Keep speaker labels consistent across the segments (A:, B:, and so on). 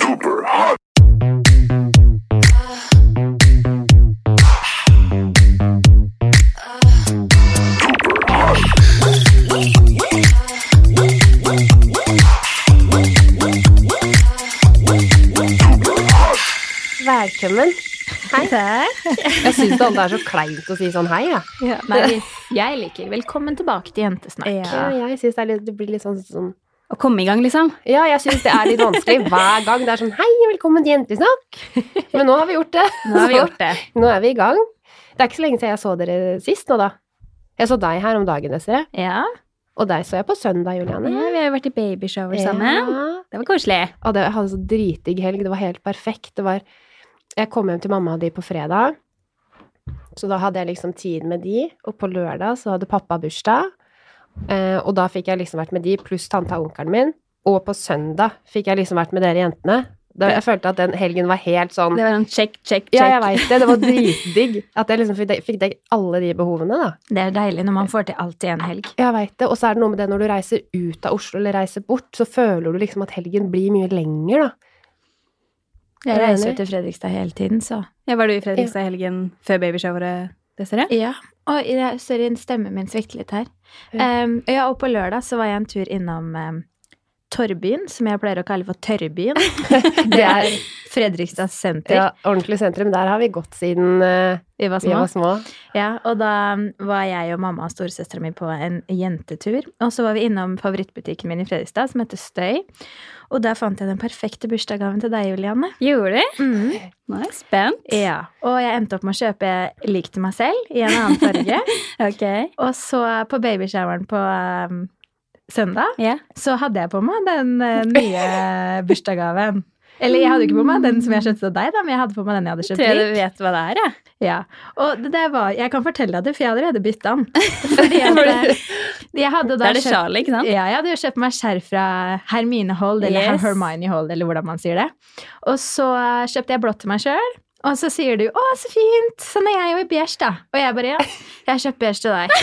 A: Super hot. Super hot.
B: Velkommen. Hei. Jeg syns alle er så kleint å si sånn hei, jeg.
C: Ja, nei, jeg liker Velkommen tilbake til Jentesnakk.
B: Ja. Jeg synes det, er litt, det blir litt sånn, sånn
D: Å komme i gang, liksom.
B: Ja, jeg syns det er litt vanskelig hver gang. Det er sånn hei, velkommen til Jentesnakk. Men nå har vi gjort det.
D: Nå har vi gjort det.
B: Nå er vi i gang. Det er ikke så lenge siden jeg så dere sist nå, da. Jeg så deg her om dagen, Desiree.
D: Ja.
B: Og deg så jeg på søndag,
D: ja,
B: Juliane.
D: Vi har jo vært i babyshower sammen.
B: Ja.
D: Det var koselig.
B: Og det, jeg hadde så dritdigg helg. Det var helt perfekt. Det var Jeg kom hjem til mamma og de på fredag, så da hadde jeg liksom tid med de. Og på lørdag så hadde pappa bursdag, eh, og da fikk jeg liksom vært med de, pluss tanta og onkelen min. Og på søndag fikk jeg liksom vært med dere jentene. Da, jeg følte at den helgen var helt sånn
D: Det var sånn check, check, check.
B: Ja, jeg veit det. Det var dritdigg. At jeg liksom fikk dekket fikk dekket alle de behovene, da.
D: Det er deilig når man får til alt i en helg.
B: Jeg vet det. Og så er det noe med det når du reiser ut av Oslo eller reiser bort, så føler du liksom at helgen blir mye lenger, da. Er
D: Jeg
B: du
D: reiser
B: enig?
D: jo til Fredrikstad hele tiden, så
C: Ja, var du i Fredrikstad i helgen før babyshowet, Desiree?
D: Ja. Og jeg- sorry, stemmen min svikter litt her.
B: Ja.
D: Um, ja, og på lørdag så var jeg en tur innom um, Torrbyen, som jeg pleier å kalle for Tørrbyen. det er Fredrikstad senter.
B: Ja, ordentlig sentrum. Der har vi gått siden eh,
D: Vi var
B: vi
D: små.
B: var små.
D: Ja, og da um, var jeg og mamma og storesøstera mi på en jentetur. Og så var vi innom favorittbutikken min i Fredrikstad, som heter Støy. Og der fant jeg den perfekte bursdagsgaven til deg, Julianne.
C: Gjorde du?
D: Mm.
C: Nei, spent.
D: Ja. Og jeg endte opp med å kjøpe lik til meg selv i en annen farge.
C: Ok.
D: og så på babyshoweren på um, søndag
C: Ja.
D: så hadde jeg på meg den uh, nye bursdagsgaven. Eller jeg hadde jo ikke på meg den som jeg kjøpte til deg, da, men jeg hadde på meg den jeg hadde kjøpt
C: Tror jeg
D: lik.
C: du vet hva det er, jeg.
D: Ja, og det der var, jeg kan fortelle deg det, for jeg har allerede bytta den. Fordi at, eh, jeg hadde
C: Da
D: da
C: er det
D: kjøpt,
C: sjal, ikke sant?
D: ja, jeg hadde jo kjøpt meg skjerf fra Hermine Hold, eller
C: Yes.
D: Hermione Hold, eller hvordan man sier det. Og så eh, kjøpte jeg blått til meg sjøl, og så sier du 'Å, så fint', sånn er jeg jo i beige, da. Og jeg bare 'Ja, jeg har kjøpt beige til deg'.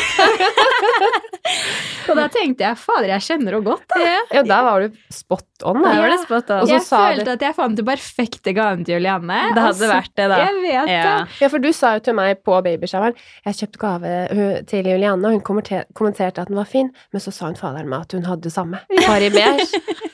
D: og da tenkte jeg 'Fader, jeg kjenner henne godt', da.
B: Ja, der var du spot on.
C: Da
B: Da.
C: var det spot
B: Og
C: on.
B: så
D: Jeg
B: sa du-
D: følte at jeg fant den perfekte gaven til Julianne.
C: Det hadde vært det, da.
D: altså. Jeg vet det.
C: Ja.
B: Ja, for du sa jo til meg på babyshoweren Jeg kjøpte gave hun- til Julianne, og hun kommenter- kommenterte at den var fin, men så sa hun faderen meg at hun hadde det samme. Bare i beige.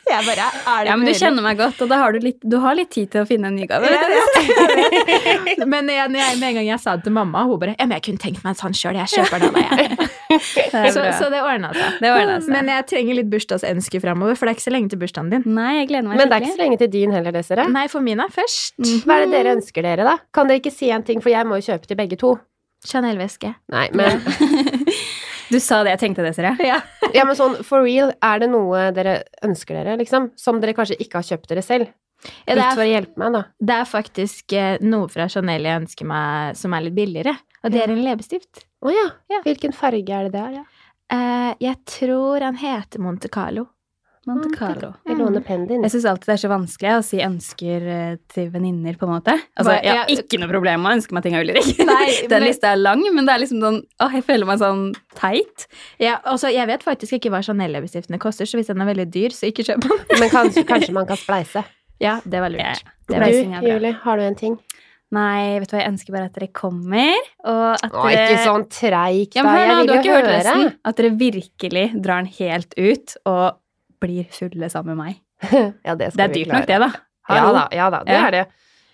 D: Jeg bare, er det
C: Ja, men du
D: mulig?
C: kjenner meg godt, og da har du litt, du har litt tid til å finne en ny gave. vet du.
D: Men jeg, når jeg, med en gang jeg sa det til mamma, hun bare Ja, men jeg kunne tenkt meg en sånn sjøl, jeg kjøper den. av Jeg.
C: Det er
D: Så,
C: bra.
D: så det ordna seg.
C: Det ordnet seg.
D: Men jeg trenger litt bursdagsønsker framover, for det er ikke så lenge til bursdagen din.
C: Nei, jeg gleder meg
B: Men det er ikke så
C: skikkelig.
B: lenge til din heller, Desiree.
D: Nei, Mhm. for min er først.
B: Hva er det dere ønsker dere, da? Kan dere ikke si en ting, for jeg må jo kjøpe til begge to.
D: Chanel-veske.
B: Nei, men,
C: Du sa det jeg tenkte, Desiree.
D: Ja.
B: ja, men sånn for real, er det noe dere ønsker dere, liksom? Som dere kanskje ikke har kjøpt dere selv?
D: Ja,
B: Litt for
D: det, er,
B: å hjelpe meg, da.
D: det er faktisk eh, noe fra Chanel jeg ønsker meg som er litt billigere, og det er en leppestift.
B: Å ja.
D: Ja.
B: Hvilken farge er det det er, ja?
D: Eh, jeg tror han heter Monte Carlo.
C: Monte Carlo.
B: Jeg låner pennen din.
C: Jeg syns alltid det er så vanskelig å si ønsker eh, til venninner, på en måte. Altså,
D: Hva-
C: jeg har
D: ja.
C: ikke noe problem med å ønske meg ting av Ulrik.
D: Nei,
C: Den
D: men-
C: lista er lang, men det er liksom sånn Åh, jeg føler meg sånn teit.
D: Ja, altså, jeg vet faktisk ikke hva Chanel-leppestiftene koster, så hvis den er veldig dyr, så ikke kjøp den.
B: Men kanskje, kanskje man kan spleise.
D: Ja, det var lurt. Det
C: Ja.
D: var
B: Du,
D: liksom
C: Spleising er bra.
B: Julie, har du en ting?
C: Nei, vet du hva, jeg ønsker bare at dere kommer, og at
B: Å,
C: dere
B: ikke sånn treigt,
C: ja,
B: da.
C: men hør, nå,
B: Jeg
C: du
B: vil
C: har ikke
B: jo
C: hørt
B: høre.
C: resten. At dere virkelig drar den helt ut og blir fulle sammen med meg.
B: Ja, det,
C: Det er dyrt nok, det, da.
B: Ja da, ja da, det
C: Ja.
B: er det.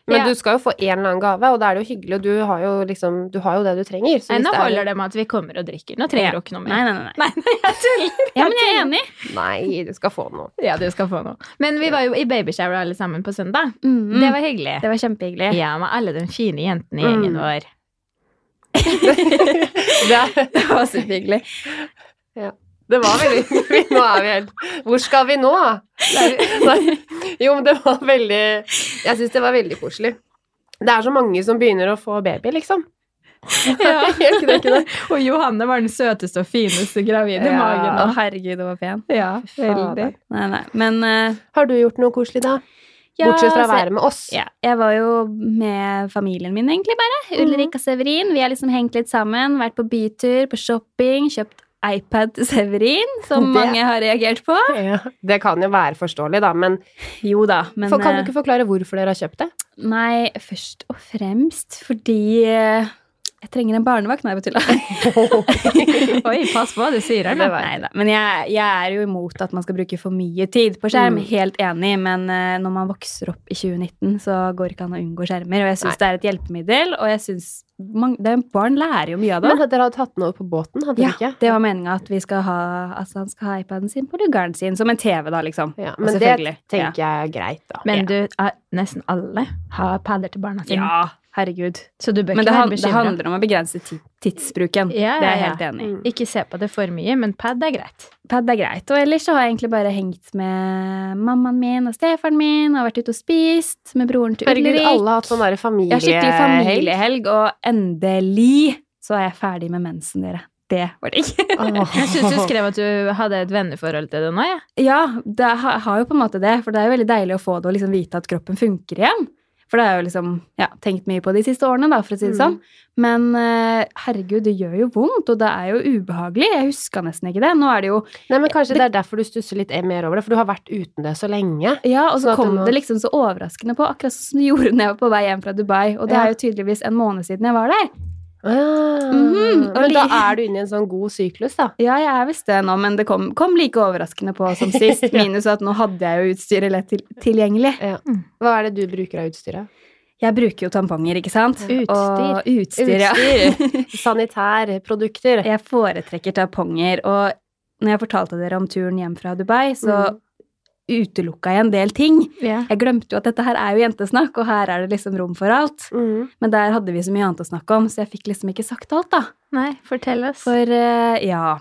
B: Men
D: Ja.
B: du skal jo få en eller annen gave, og da er det jo hyggelig, og du har jo liksom Du har jo det du trenger.
D: Nei, nå holder
B: det
D: det med at vi kommer og drikker. Nå trenger du ikke noe
C: Nei,
D: mer.
C: nei, nei. nei.
D: Nei, nei, jeg tuller.
C: Ja, men jeg er enig.
B: er Nei, du skal få noe.
D: Ja, du skal få noe. Men vi var jo i babyshower alle sammen på søndag.
C: Mm.
D: Det var hyggelig.
C: det var kjempehyggelig.
D: Ja, med alle de fine jentene i
B: Mm.
D: gjengen vår.
B: Det, er-
C: Det var superhyggelig.
B: det var veldig Nå er vi helt Hvor skal vi nå? Nei, Jo, men det var veldig Jeg syns det var veldig koselig. Det er så mange som begynner å få baby, liksom.
D: Ja.
B: Gjør ikke det, ikke det?
D: Og Johanne var den søteste og fineste gravide
B: Ja.
D: i
C: Å,
D: magen. Og-
C: herregud, det var pen.
D: Ja, veldig.
B: Fader.
C: Nei, nei. Men eh,
B: Har du gjort noe koselig, da?
C: ja,
B: Bortsett fra å
C: så-
B: være med oss.
C: Ja, jeg var jo med familien
B: Mhm.
C: min egentlig bare. Ulrik og Severin. Vi har liksom hengt litt sammen, vært på bytur, på shopping, kjøpt iPad til Severin, som
B: Det-
C: mange har reagert på.
B: Ja, det kan jo være forståelig, da, men,
C: Jo da, men
B: for, kan
C: eh,
B: du ikke forklare hvorfor dere har kjøpt det?
C: Nei, først og fremst fordi eh, jeg trenger en barnevakt. Nei, jeg bare tuller.
D: Oi, pass på hva du sier her. nå.
C: Neida, Men jeg, jeg er jo imot at man skal bruke for mye tid på skjerm.
B: Mm.
C: Helt enig, men eh, når man vokser opp i 2019, så går ikke an å unngå skjermer. Og jeg
B: Nei.
C: syns det er et hjelpemiddel, og jeg synes man, det, barn lærer jo mye av det.
B: Men dere hadde tatt den over på båten, hadde
C: ja,
B: dere ikke?
C: det var meninga at vi skal ha, altså, han skal ha iPaden sin på lugaren sin, som en TV, da, liksom.
B: Ja,
C: Og
B: men det
C: selvfølgelig,
B: tenker jeg er greit, da.
D: Men du, er- nesten alle har pader til barna sine.
C: Ja, herregud.
D: Så du bør
C: Men
D: ikke
C: det,
D: være
C: han, det
D: bekymra.
C: handler om å begrense ti- tidsbruken.
D: Ja,
C: Det er jeg
D: ja,
C: helt enig i.
B: Mm.
D: Ikke se på det for mye, men pad er greit.
C: iPad er greit. Og ellers så har jeg egentlig bare hengt med mammaen min og stefaren min og vært ute og spist med broren til
B: Herregud,
C: Ulrik.
B: alle har hatt sånn derre
C: Jeg har skikkelig
B: familiehelg.
C: familiehelg, og endelig så er jeg ferdig med mensen, dere. Det var det ikke.
D: Jeg syns du skrev at du hadde et venneforhold til det nå, jeg.
C: Ja, det har, har jo på en måte det, for det er jo veldig deilig å få det og liksom vite at kroppen funker igjen. For det er jo liksom, ja, tenkt mye på de siste årene, da, for å si det sånn.
B: Mm.
C: Men eh, herregud, det gjør jo vondt, og det er jo ubehagelig. Jeg huska nesten ikke det. Nå er det jo
B: Nei, men kanskje det er derfor du stusser litt mer over det, for du har vært uten det så lenge.
C: Ja, og
B: Sånn
C: så
B: at
C: kom
B: det må-
C: det liksom så overraskende på, akkurat sånn som det gjorde når jeg var på vei hjem fra Dubai. Og det
B: Ja.
C: er jo tydeligvis en måned siden jeg var der.
B: Ah,
C: Mhm, og
B: men da
C: li-
B: er du inne i en sånn god syklus, da.
C: Ja, jeg er visst det nå, men det kom, kom like overraskende på som sist.
B: Ja.
C: Minus at nå hadde jeg jo utstyret lett til, tilgjengelig.
B: Hva er det du bruker av utstyret?
C: Jeg bruker jo tamponger, ikke sant?
D: Utstyr.
C: Og utstyr, ja.
B: Utstyr. Sanitærprodukter.
C: Jeg foretrekker tamponger, og når jeg fortalte dere om turen hjem fra Dubai, så
B: Mm.
C: utelukka jeg en del ting.
D: Ja.
C: Jeg glemte jo at dette her er jo jentesnakk, og her er det liksom rom for alt.
B: Mhm.
C: Men der hadde vi så mye annet å snakke om, så jeg fikk liksom ikke sagt alt, da.
D: Nei, fortell oss.
C: For eh, ja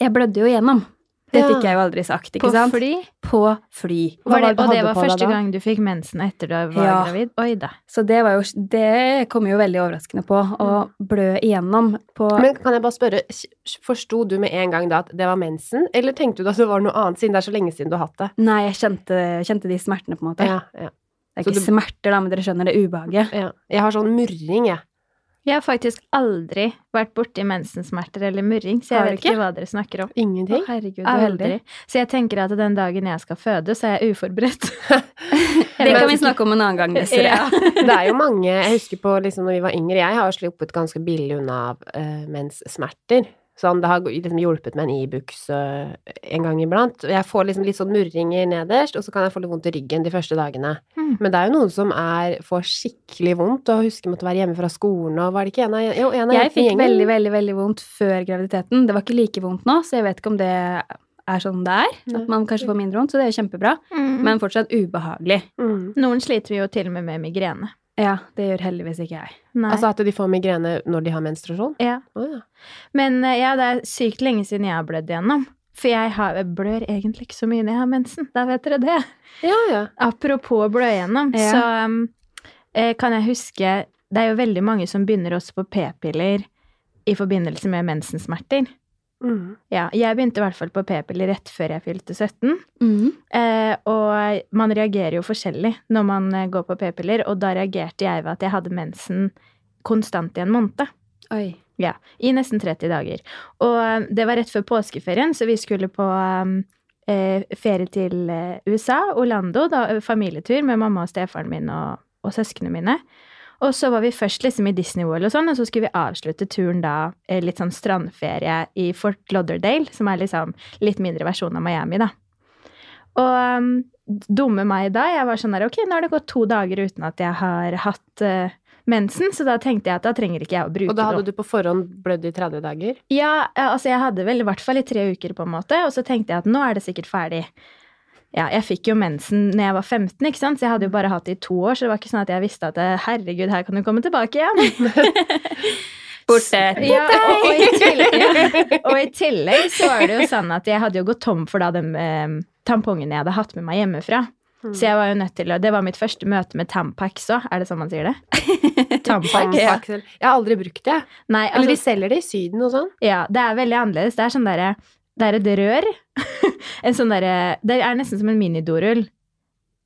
C: Jeg blødde jo igjennom. Det
B: Ja.
C: fikk jeg jo aldri sagt, ikke
D: på
C: sant?
D: fly?
C: På fly.
B: Hva var
D: Var det,
B: det du
D: og det
B: hadde
D: var
B: på deg
D: første
B: da?
D: gang du fikk mensen etter du var
C: Ja.
D: gravid? Oi da.
C: Så det var jo Det kom jo veldig overraskende på. Å blø igjennom på
B: Mm. Men kan jeg bare spørre, s- forsto du med en gang da at det var mensen, eller tenkte du at det var noe annet, siden det er så lenge siden du har hatt det?
C: Nei, jeg kjente, kjente de smertene, på en måte.
B: Ja, ja,
C: Det er
B: Så
C: ikke
B: du-
C: smerter, da, men dere skjønner det ubehaget.
B: ja. Jeg har sånn murring, jeg.
D: Jeg har faktisk aldri vært borti mensensmerter eller murring, så
C: Har
D: jeg
C: du
D: vet
C: ikke?
D: ikke hva dere snakker om.
B: Ingenting.
C: Å, herregud, du er heldig.
D: Aldri. Så jeg tenker at den dagen jeg skal føde, så er jeg uforberedt.
C: Det kan vi snakke om en annen gang. Nessere.
D: Ja.
B: Det er jo mange Jeg husker på liksom når vi var yngre, jeg har jo sluppet ganske billig unna av eh, menssmerter. Sånn, det har gå- liksom hjulpet med en Ibux eh, en gang iblant. Og Jeg får liksom litt sånn murringer nederst, og så kan jeg få litt vondt i ryggen de første dagene.
D: Mm.
B: Men det er jo noen som er, får skikkelig vondt, og husker måtte være hjemme fra skolen, og var det ikke en av, jo, en av jentene
C: Jeg
B: i
C: fikk
B: gjengen?
C: veldig, veldig veldig vondt før graviditeten. Det var ikke like vondt nå, så jeg vet ikke om det er sånn det er.
B: Nei.
C: At man kanskje får mindre vondt, så det er jo kjempebra.
D: Men
C: Men fortsatt ubehagelig.
B: Mm.
D: Mm. noen sliter jo til og med med migrene.
C: Ja, det gjør heldigvis ikke jeg.
D: Nei.
B: Altså at de får migrene når de har menstruasjon?
D: ja.
B: Å ja.
D: Men eh, ja, det er sykt lenge siden jeg har blødd gjennom. For jeg, har, jeg blør egentlig ikke så mye når jeg har mensen. Da vet dere det.
B: Ja, ja.
D: Apropos å blø igjennom,
C: Ja.
D: så um, eh, kan jeg huske Det er jo veldig mange som begynner også på p-piller i forbindelse med mensensmerter.
B: Mm.
D: Ja, jeg begynte i hvert fall på p-piller rett før jeg fylte 17.
B: Mm.
D: Eh, og man reagerer jo forskjellig når man eh, går på p-piller, og da reagerte jeg ved at jeg hadde mensen konstant i en måned.
C: Oi.
D: Ja, i nesten 30 dager. Og eh, det var rett før påskeferien, så vi skulle på eh, eh, ferie til eh, USA, Orlando, da, eh, familietur med mamma og stefaren min og, og søsknene mine. Og så var vi først liksom i Disney World og sånn, og så skulle vi avslutte turen da eh, litt sånn strandferie i Fort Lauderdale, som er liksom litt mindre versjon av Miami, da. Og um, dumme meg da, jeg var sånn der, ok, nå har det gått to dager uten at jeg har hatt eh, mensen, så da tenkte jeg at da trenger ikke jeg å bruke
B: Og da
D: noe.
B: hadde du på forhånd blødd i 30 dager?
D: Ja, eh, altså jeg hadde vel i hvert fall i tre uker på en måte, og så tenkte jeg at nå er det sikkert ferdig. Ja, jeg fikk jo mensen når jeg var 15, ikke sant? så jeg hadde jo bare hatt det i to år, så det var ikke sånn at jeg visste at eh, herregud, her kan du komme tilbake igjen.
C: Borte.
D: Ja, og, og, i tillegg, ja. og i tillegg så var det jo sånn at jeg hadde jo gått tom for da de eh, tampongene jeg hadde hatt med meg hjemmefra.
B: Mm.
D: Så jeg var jo nødt til å, det var mitt første møte med Tampax òg, er det sånn man sier det? Tampax?
B: Ja. Jeg har aldri brukt det.
D: Nei,
B: Eller
D: altså,
B: de selger det i Syden og sånn.
D: Ja, det er veldig annerledes. Det er sånn derre Det er et rør. en sånn derre Det er nesten som en minidorull.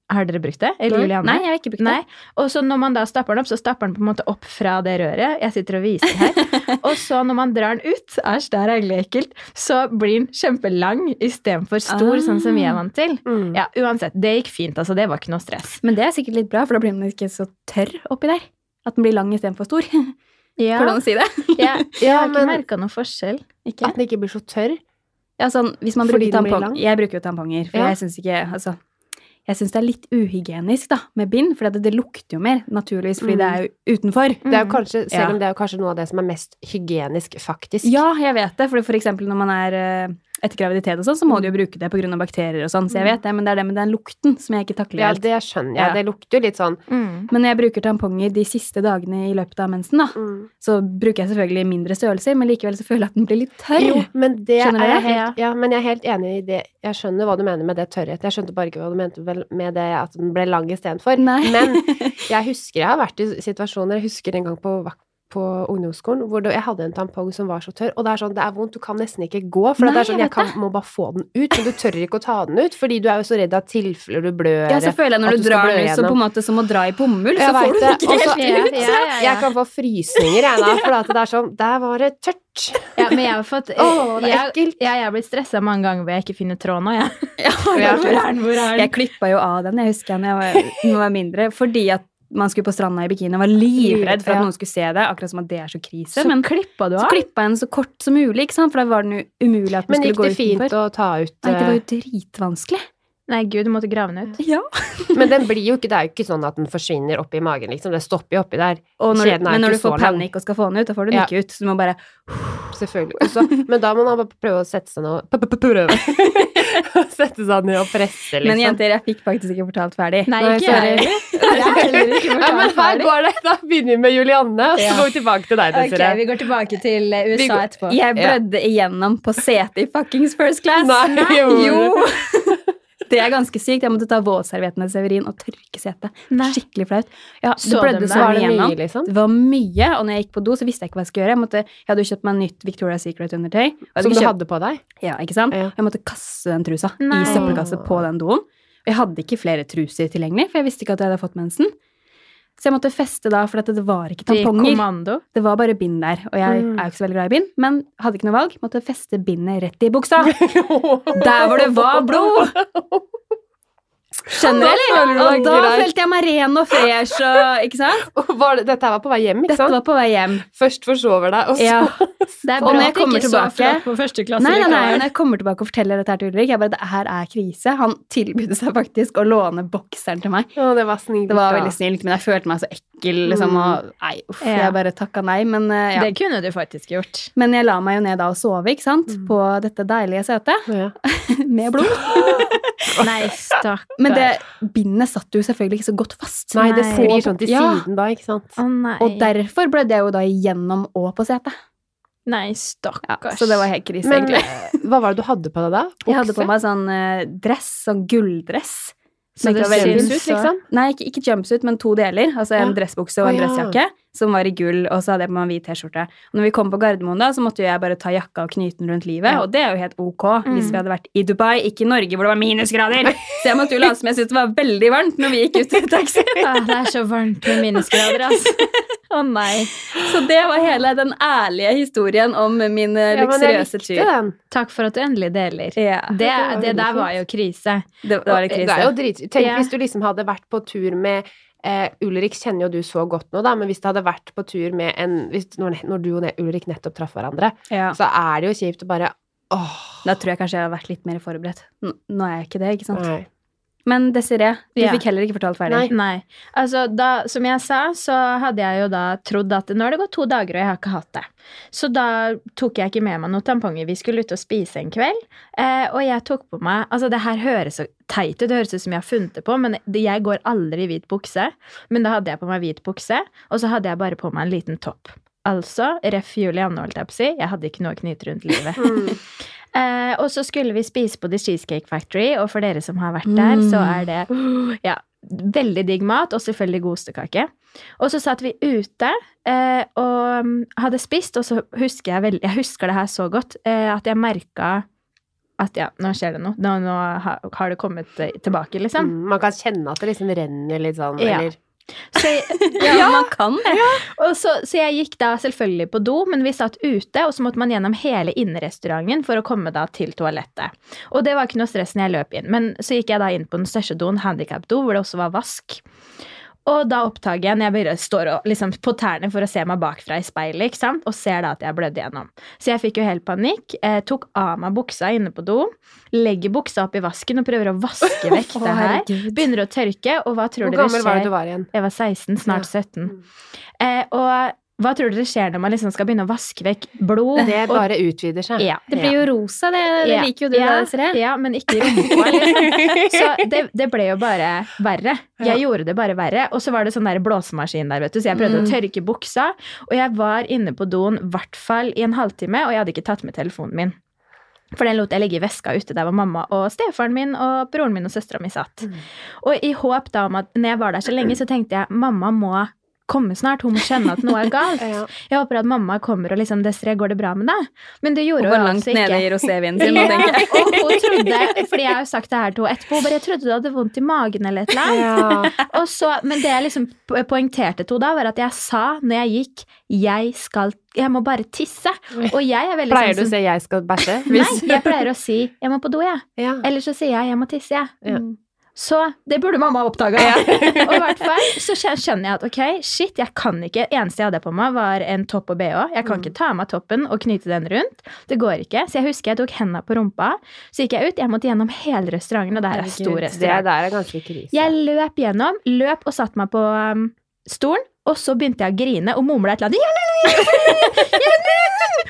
D: Har dere brukt det? Eller Julianne?
C: Nei, jeg har ikke brukt det.
D: Nei. Og så når man da stapper den opp, så stapper den på en måte opp fra det røret. Jeg sitter og viser her. og så når man drar den ut, æsj, det er egentlig ekkelt, så blir den kjempelang istedenfor stor,
C: Ah.
D: sånn som vi er vant til.
B: Mm.
D: Ja, uansett. Det gikk fint, altså. Det var ikke noe stress.
C: Men det er sikkert litt bra, for da blir den ikke så tørr oppi der. At den blir lang istedenfor stor.
D: Ja,
C: Hvordan si det?
D: jeg, jeg
B: Ja,
D: har ikke
B: men-
D: merka noe forskjell.
C: Ikke?
B: At den ikke blir så tørr.
C: Ja, sånn, hvis man
B: Fordi
C: bruker
B: den blir
C: tampong
B: lang?
C: Jeg bruker jo tamponger, for
B: Ja.
C: jeg syns ikke altså, Jeg syns det er litt uhygienisk da, med bind, for det, det lukter jo mer, naturligvis, fordi
B: Mm.
C: det er jo utenfor.
B: Det
D: Mm,
B: er jo kanskje, selv
C: Ja.
B: om det er jo kanskje noe av det som er mest hygienisk, faktisk.
C: Ja, jeg vet det, for for eksempel når man er eh, etter graviditet og sånn, så må
B: Mm.
C: du jo bruke det pga. bakterier og sånn, så jeg vet det, men det er det med den lukten som jeg ikke takler
B: Ja,
C: helt.
B: det skjønner jeg.
C: Ja.
B: Det lukter jo litt sånn
D: Mm.
C: Men når jeg bruker tamponger de siste dagene i løpet av mensen, da, så bruker jeg selvfølgelig mindre størrelser, men likevel så føler jeg at den blir litt tørr.
B: Jo, men det
C: Skjønner
B: er jeg
C: dere?
B: helt, ja, men jeg er helt enig i det. Jeg skjønner hva du mener med det tørrhet. Jeg skjønte bare ikke hva du mente vel med det at den ble lang istedenfor.
C: Nei.
B: Men jeg husker jeg har vært i situasjoner Jeg husker en gang på, vak- på ungdomsskolen hvor det, jeg hadde en tampong som var så tørr. Og det er sånn, det er vondt, du kan nesten ikke gå. For
C: Nei,
B: det er sånn,
C: jeg
B: jeg kan, må bare få den ut, men du tør ikke å ta den ut. Fordi du er jo så redd at tilfeller du blør.
C: Ja, så føler jeg
B: at
C: når du,
B: du skal
C: drar
B: blø
C: den ut, så på en måte som å dra i bomull, så
B: Jeg
C: får
B: vet
C: du
B: det,
C: den ikke
B: og så-
C: helt
D: Ja,
C: ut.
D: ja, ja, ja.
B: Jeg kan få frysninger, jeg da, for at det er sånn Der var det tørt!
D: Ja, men jeg har fått
B: Å, det er
D: jeg,
B: ekkelt.
D: jeg, jeg har blitt stressa mange ganger hvor jeg ikke finner tråden nå, jeg.
B: Ja.
D: Hvor er den, hvor er den?
C: Jeg klippa jo av den, jeg husker da jeg var, når jeg var mindre, fordi at man skulle på stranda i bikini og var livredd for at
B: Ja.
C: noen skulle se det, akkurat som at det er så krise.
D: Så
C: men
D: klippa du
C: så
D: av?
C: klippa jeg den så kort som mulig, ikke sant? for da var den jo umulig at den
B: Men
C: skulle
B: gikk
C: gå
B: det fint
C: utenfor.
B: å ta ut
C: Nei, det
B: eh,
C: var jo dritvanskelig.
D: Nei, gud, du måtte grave den ut.
C: Ja.
B: Men den blir jo ikke, det er jo ikke sånn at den forsvinner oppi magen, liksom. Det stopper jo oppi der.
C: Og når,
B: Skjeden er
C: du- men
B: ikke
C: når du
B: så
C: får
B: lang.
C: panikk og skal få den ut, da får du den
B: Ja.
C: ikke ut. Så du må bare
B: Selvfølgelig. Også, men da må man bare prøve å sette seg ned og p- p- p- Prøve! sette seg ned og presse, liksom.
C: Men jenter, jeg fikk faktisk ikke fortalt ferdig.
D: Nei,
B: Nei,
D: ikke jeg heller. Jeg har heller
B: ja,
D: ikke
B: men
D: fortalt
B: her
D: ferdig.
B: går det! Da begynner vi med Julianne, og så går vi tilbake til deg,
D: Ok,
B: Desiree.
D: vi går tilbake til eh,
B: Vi
D: USA
B: går-
D: etterpå.
C: Jeg blødde igjennom på setet i fuckings first class.
B: Nei, gjorde
C: jo! Det er ganske sykt. Jeg måtte ta våtserviettene til Severin og tørke setet.
D: Nei.
C: Skikkelig flaut. Ja,
D: Så
C: det blødde
D: dem
C: så
D: der?
B: Var
C: mye
B: det
C: igjennom.
B: mye, liksom?
C: Det var mye, og når jeg gikk på do, så visste jeg ikke hva jeg skulle gjøre. Jeg, måtte, jeg hadde jo kjøpt meg nytt Victoria's Secret-undertøy. og jeg hadde
B: Som du
C: ikke kjøpt-
B: hadde på deg?
C: Ja, ikke sant?
B: Ja.
C: Jeg måtte kaste den trusa
D: Nei.
C: i søppelkasse på den doen. Og jeg hadde ikke flere truser tilgjengelig, for jeg visste ikke at jeg hadde fått mensen. Så jeg måtte feste da, for at det var ikke
D: Til
C: tamponger.
D: kommando.
C: Det var bare bind der, og jeg
B: Mm.
C: er jo ikke så veldig glad i bind, men hadde ikke noe valg. Måtte feste bindet rett i buksa. Der
B: Der
C: hvor det var blod! Skjønner du,
B: føler
C: eller?
B: du deg
C: Og da
B: grei.
C: følte jeg meg ren og fresh og Ikke sant?
B: Var det, dette her var på vei hjem, ikke
C: Dette
B: sant?
C: var på vei hjem.
B: Først forsover deg, og så
C: Ja.
D: Det er
C: Og når
D: bra
C: jeg
D: at det
C: kommer
D: ikke så
C: tilbake-
D: flott på første klasse.
C: Nei, nei, nei,
D: likevel.
C: når jeg kommer tilbake og forteller dette her til Ulrik, jeg bare, det her er krise. Han tilbød seg faktisk å låne bokseren til meg.
B: Å, det var snilt.
C: Det var
B: da.
C: veldig snilt, men jeg følte meg så ekkel, liksom, og nei, uff,
D: Ja.
C: jeg bare takka nei, men eh, ja.
D: Det kunne du faktisk gjort.
C: Men jeg la meg jo ned da og sove, ikke sant,
B: Mm.
C: på dette deilige setet
B: Ja.
C: med blod.
D: Nei, stakkar.
C: Men det bindet satt jo selvfølgelig ikke så godt fast.
B: Nei, det
D: Nei.
B: sklir sånn til
C: Ja.
B: siden da, ikke sant?
D: Å nei.
C: Og derfor blødde jeg jo da igjennom og på setet.
D: Nei,
C: Ja,
D: stakkars.
C: så det var helt krise,
B: Men
C: egentlig.
B: eh, hva var det du hadde på deg da?
C: Jeg hadde på
B: Bukse?
C: meg sånn eh, dress, sånn gulldress.
D: Så
C: Det
D: det
C: var veldig
D: syns
B: Syns ut,
D: så-
B: liksom?
C: Nei, ikke, ikke jumpsuit, men to deler. Altså en
B: Ja.
C: dressbukse og en
B: Å, ja.
C: dressjakke som var i gull, og så hadde jeg på meg en hvit T-skjorte. Og Når vi kom på Gardermoen, da, så måtte jo jeg bare ta jakka og knyte den rundt livet,
B: Ja.
C: og det er jo helt ok hvis
D: Mm.
C: vi hadde vært i Dubai, ikke i Norge hvor det var minusgrader. Så jeg måtte jo late som jeg syntes det var veldig varmt når vi gikk ut i taxi.
D: Å, Ah, det er så varmt med minusgrader, altså. Å nei.
C: Så det var hele den ærlige historien om min eh,
B: Ja, men jeg
C: luksuriøse
B: likte
C: tur.
B: den.
D: Takk for at du endelig deler.
C: Ja, det,
D: Det,
B: var veldig
D: det der
B: fint.
D: var jo krise.
C: det var litt
B: Det er jo
C: krise.
B: drit. Tenk
D: Ja.
B: hvis du liksom hadde vært på tur med eh, Ulrik kjenner jo du så godt nå, da, men hvis det hadde vært på tur med en hvis, når, når du og ne- Ulrik nettopp traff hverandre,
C: Ja.
B: så er det jo kjipt å bare åh.
C: Da tror jeg kanskje jeg hadde vært litt mer forberedt. N- Nå er jeg ikke det, ikke sant?
B: Nei.
C: Men Desiree, du
D: Ja.
C: fikk heller ikke fortalt
B: Mm.
C: ferdig.
B: Nei.
D: Nei. Altså, da, som jeg sa, så hadde jeg jo da trodd at nå har det gått to dager, og jeg har ikke hatt det. Så da tok jeg ikke med meg noen tamponger. Vi skulle ut og spise en kveld, eh, og jeg tok på meg Altså, det her høres så teit ut, det høres ut som jeg har funnet det på, men det, jeg går aldri i hvit bukse. Men da hadde jeg på meg hvit bukse, og så hadde jeg bare på meg en liten topp. Altså, ref. Julianne, holdt jeg på å si, jeg hadde ikke noe å knyte rundt livet.
B: Mm.
D: Eh, og så skulle vi spise på The Cheesecake Factory, og for dere som har vært der, så
C: Mm.
D: er det ja, veldig digg mat, og selvfølgelig god ostekake. Og så satt vi ute eh, og mm, hadde spist, og så husker jeg veldig Jeg husker det her så godt, eh, at jeg merka at ja, nå skjer det noe. Nå, nå har har det kommet eh, tilbake, liksom.
B: Mm, man kan kjenne at det liksom renner litt sånn,
D: Ja.
B: eller
D: Så jeg,
C: Ja, man kan det.
D: og så, så jeg gikk da selvfølgelig på do, men vi satt ute, og så måtte man gjennom hele innerestauranten for å komme da til toalettet. Og det var ikke noe stress når jeg løp inn. Men så gikk jeg da inn på den største doen, handikapdo, hvor det også var vask. Og da oppdager jeg når jeg begynner, står og, liksom, på tærne for å se meg bakfra i speilet, ikke sant? og ser da at jeg blødde gjennom. Så jeg fikk jo helt panikk, eh, tok av meg buksa inne på do, legger buksa opp i vasken og prøver å vaske vekk
C: Å,
D: det her.
C: herregud.
D: Begynner å tørke, og hva tror
B: Hvor
D: dere skjer?
B: gammel var det du var igjen?
D: Jeg var 16, snart
B: Ja. Mm.
D: 17. Eh, og hva tror dere skjer når man liksom skal begynne å vaske vekk blod?
B: Det
D: og,
B: bare utvider seg.
D: ja.
C: Det blir jo rosa, det, det
D: Ja.
C: liker jo du,
D: ja,
C: da, Desiree.
D: Ja, men ikke i rumpa. Liksom. Så det, det ble jo bare verre. Jeg gjorde det bare verre. Og så var det sånn der blåsemaskin der, vet du, så jeg prøvde
C: Mm.
D: å tørke buksa. Og jeg var inne på doen i hvert fall i en halvtime, og jeg hadde ikke tatt med telefonen min. For den lot jeg ligge i veska ute der hvor mamma og stefaren min og broren min og søstera mi satt.
B: Mm.
D: Og i håp da om at når jeg var der så lenge, så tenkte jeg mamma må komme snart. Hun må skjønne at noe er galt.
B: Ja.
D: Jeg håper at mamma kommer og liksom 'Desiree, går det bra med deg?' Men det
C: Hun
D: gjorde
C: var
D: hun
C: langt
D: altså ikke.
C: nede i rosévinen sin. nå, tenker jeg.
D: Ja, og hun trodde, fordi jeg har jo sagt det her til henne etterpå, hun bare jeg trodde du hadde vondt i magen eller et eller annet.
B: Ja.
D: Og så, men det jeg liksom po- poengterte til henne da, var at jeg sa når jeg gikk 'jeg skal Jeg må bare tisse'. Og jeg er veldig
B: Pleier du å
D: sånn som-
B: si 'jeg skal bæsje'?
D: Nei, jeg pleier å si 'jeg må på do', jeg.
B: Ja.
D: Eller så sier jeg 'jeg må tisse', jeg.
B: Ja.
D: Så det burde mamma ha oppdaga. og i hvert fall så skjø- skjønner jeg at ok, shit, jeg kan ikke Eneste jeg hadde på meg, var en topp og bh. Jeg kan
B: Mm.
D: ikke ta av meg toppen og knyte den rundt. Det går ikke. Så jeg husker jeg tok henda på rumpa. Så gikk jeg ut. Jeg måtte gjennom hele restauranten, og det her er stor
B: Herregud, Det
D: restaurant.
B: der er ganske krise.
D: Jeg løp gjennom, løp og satte meg på um, stolen, og så begynte jeg å grine og mumle et eller annet.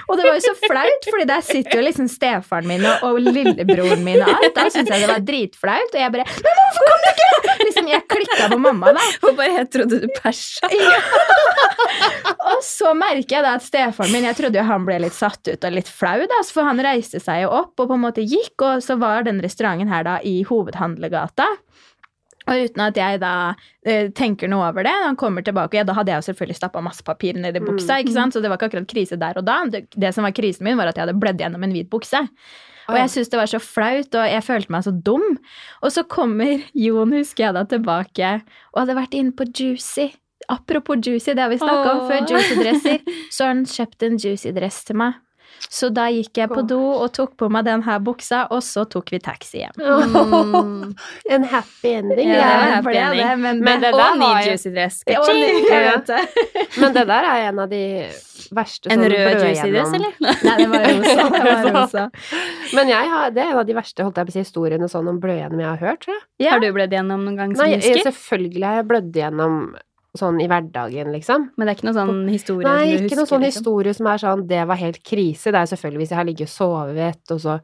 D: Og det var jo så flaut, fordi der sitter jo liksom stefaren min og, og lillebroren min og alt. Da syntes jeg det var dritflaut, og jeg bare Men hvorfor kom du ikke? Liksom, jeg klikka på mamma, da.
C: Hun bare jeg trodde du persa.
D: Og så merker jeg da at stefaren min Jeg trodde jo han ble litt satt ut og litt flau, da, så for han reiste seg jo opp og på en måte gikk, og så var den restauranten her da i Hovedhandlegata. Og uten at jeg da eh, tenker noe over det, når han kommer tilbake og ja, Da hadde jeg jo selvfølgelig stappa masse papir ned i buksa, ikke sant? så det var ikke akkurat krise der og da. Det, det som var krisen min, var at jeg hadde blødd gjennom en hvit bukse. Og jeg syntes det var så flaut, og jeg følte meg så dum. Og så kommer Jon, husker jeg da, tilbake og hadde vært inne på Juicy. Apropos Juicy, det har vi snakka om
C: Åh.
D: før, Juicy-dresser. Så har han kjøpt en Juicy-dress til meg. Så da gikk jeg på do og tok på meg den her buksa, og så tok vi taxi hjem.
C: Mm.
B: En happy ending.
C: Ja,
B: det
C: var
B: er.
C: happy
D: ble det,
C: ending.
D: men,
B: Men det
C: Og
B: der
C: ny
B: var jo
C: juicy dress.
D: Ja, og
C: Ka-ching!
D: ny-
B: Ja.
D: jeg vet det.
B: Men det der er en av de verste
C: En
B: sånn
C: rød
B: blø
C: juicy dress,
B: gjennom.
C: eller?
D: Nei, det var rosa. Det var rosa.
B: Men jeg har, det er en av de verste holdt jeg på å si, historiene sånn om blødgjennom jeg har hørt, tror jeg.
D: Ja.
C: Har du blødd gjennom noen gang som
B: Nei,
C: du
B: jeg,
C: husker?
B: selvfølgelig har jeg blødd gjennom sånn i hverdagen, liksom.
C: Men det er ikke noen sånn historie
B: Nei,
C: som du
B: ikke
C: husker?
B: noen sånn
C: liksom.
B: historie som er sånn 'det var helt krise'. Det er selvfølgelig hvis jeg har ligget og sovet, og så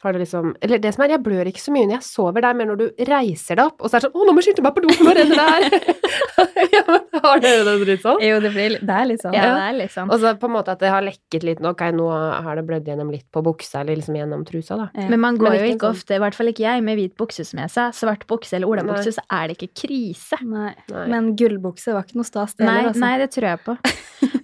B: har det liksom Eller det som er, jeg blør ikke så mye når jeg sover, det er mer når du reiser deg opp, og så er det sånn 'Å, nå må jeg skynde meg på do, for nå renner det her'. ja, men har dere det dritt sånn?
C: Jo, det, blir, det er litt sånn.
D: Ja, det er litt sånn.
B: Og så på en måte at det har lekket litt nå. Ok, nå har det blødd gjennom litt på buksa, eller liksom gjennom trusa, da.
C: Ja.
D: Men man går
B: Men
D: jo
B: ikke
D: ikke
B: sånn.
D: ofte, i hvert fall ikke jeg, med hvit bukse, som jeg sa. Svart bukse eller olabukse, så er det ikke krise.
C: Nei.
B: Nei.
C: Men gullbukse var ikke noe stas, det
D: Nei,
C: heller. altså.
D: nei, det tror jeg på.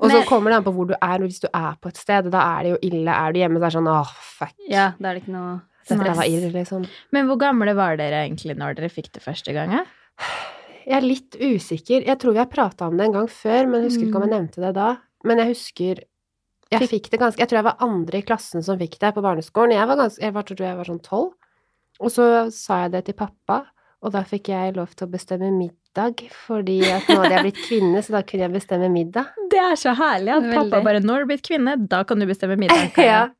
B: og så
D: men-
B: kommer det an på hvor du er. og Hvis du er på et sted, da er det jo ille. Er du hjemme, så er det sånn åh, fuck.
C: Ja, da er det ikke noe
B: Dette
D: Nice.
B: var irr, liksom.
D: Men hvor gamle var dere egentlig når dere fikk det første gang? ja?
B: Jeg er litt usikker. Jeg tror vi har prata om det en gang før, men jeg husker ikke om jeg
C: Mm.
B: nevnte det da. Men jeg husker jeg fikk det ganske Jeg tror jeg var andre i klassen som fikk det på barneskolen. Jeg var ganske Jeg var, tror jeg var sånn tolv. Og så sa jeg det til pappa, og da fikk jeg lov til å bestemme middag, fordi at nå hadde jeg blitt kvinne, så da kunne jeg bestemme middag.
D: Det er så herlig at pappa
C: Veldig.
D: bare 'Når du er blitt kvinne, da kan du bestemme middag'. Kaja».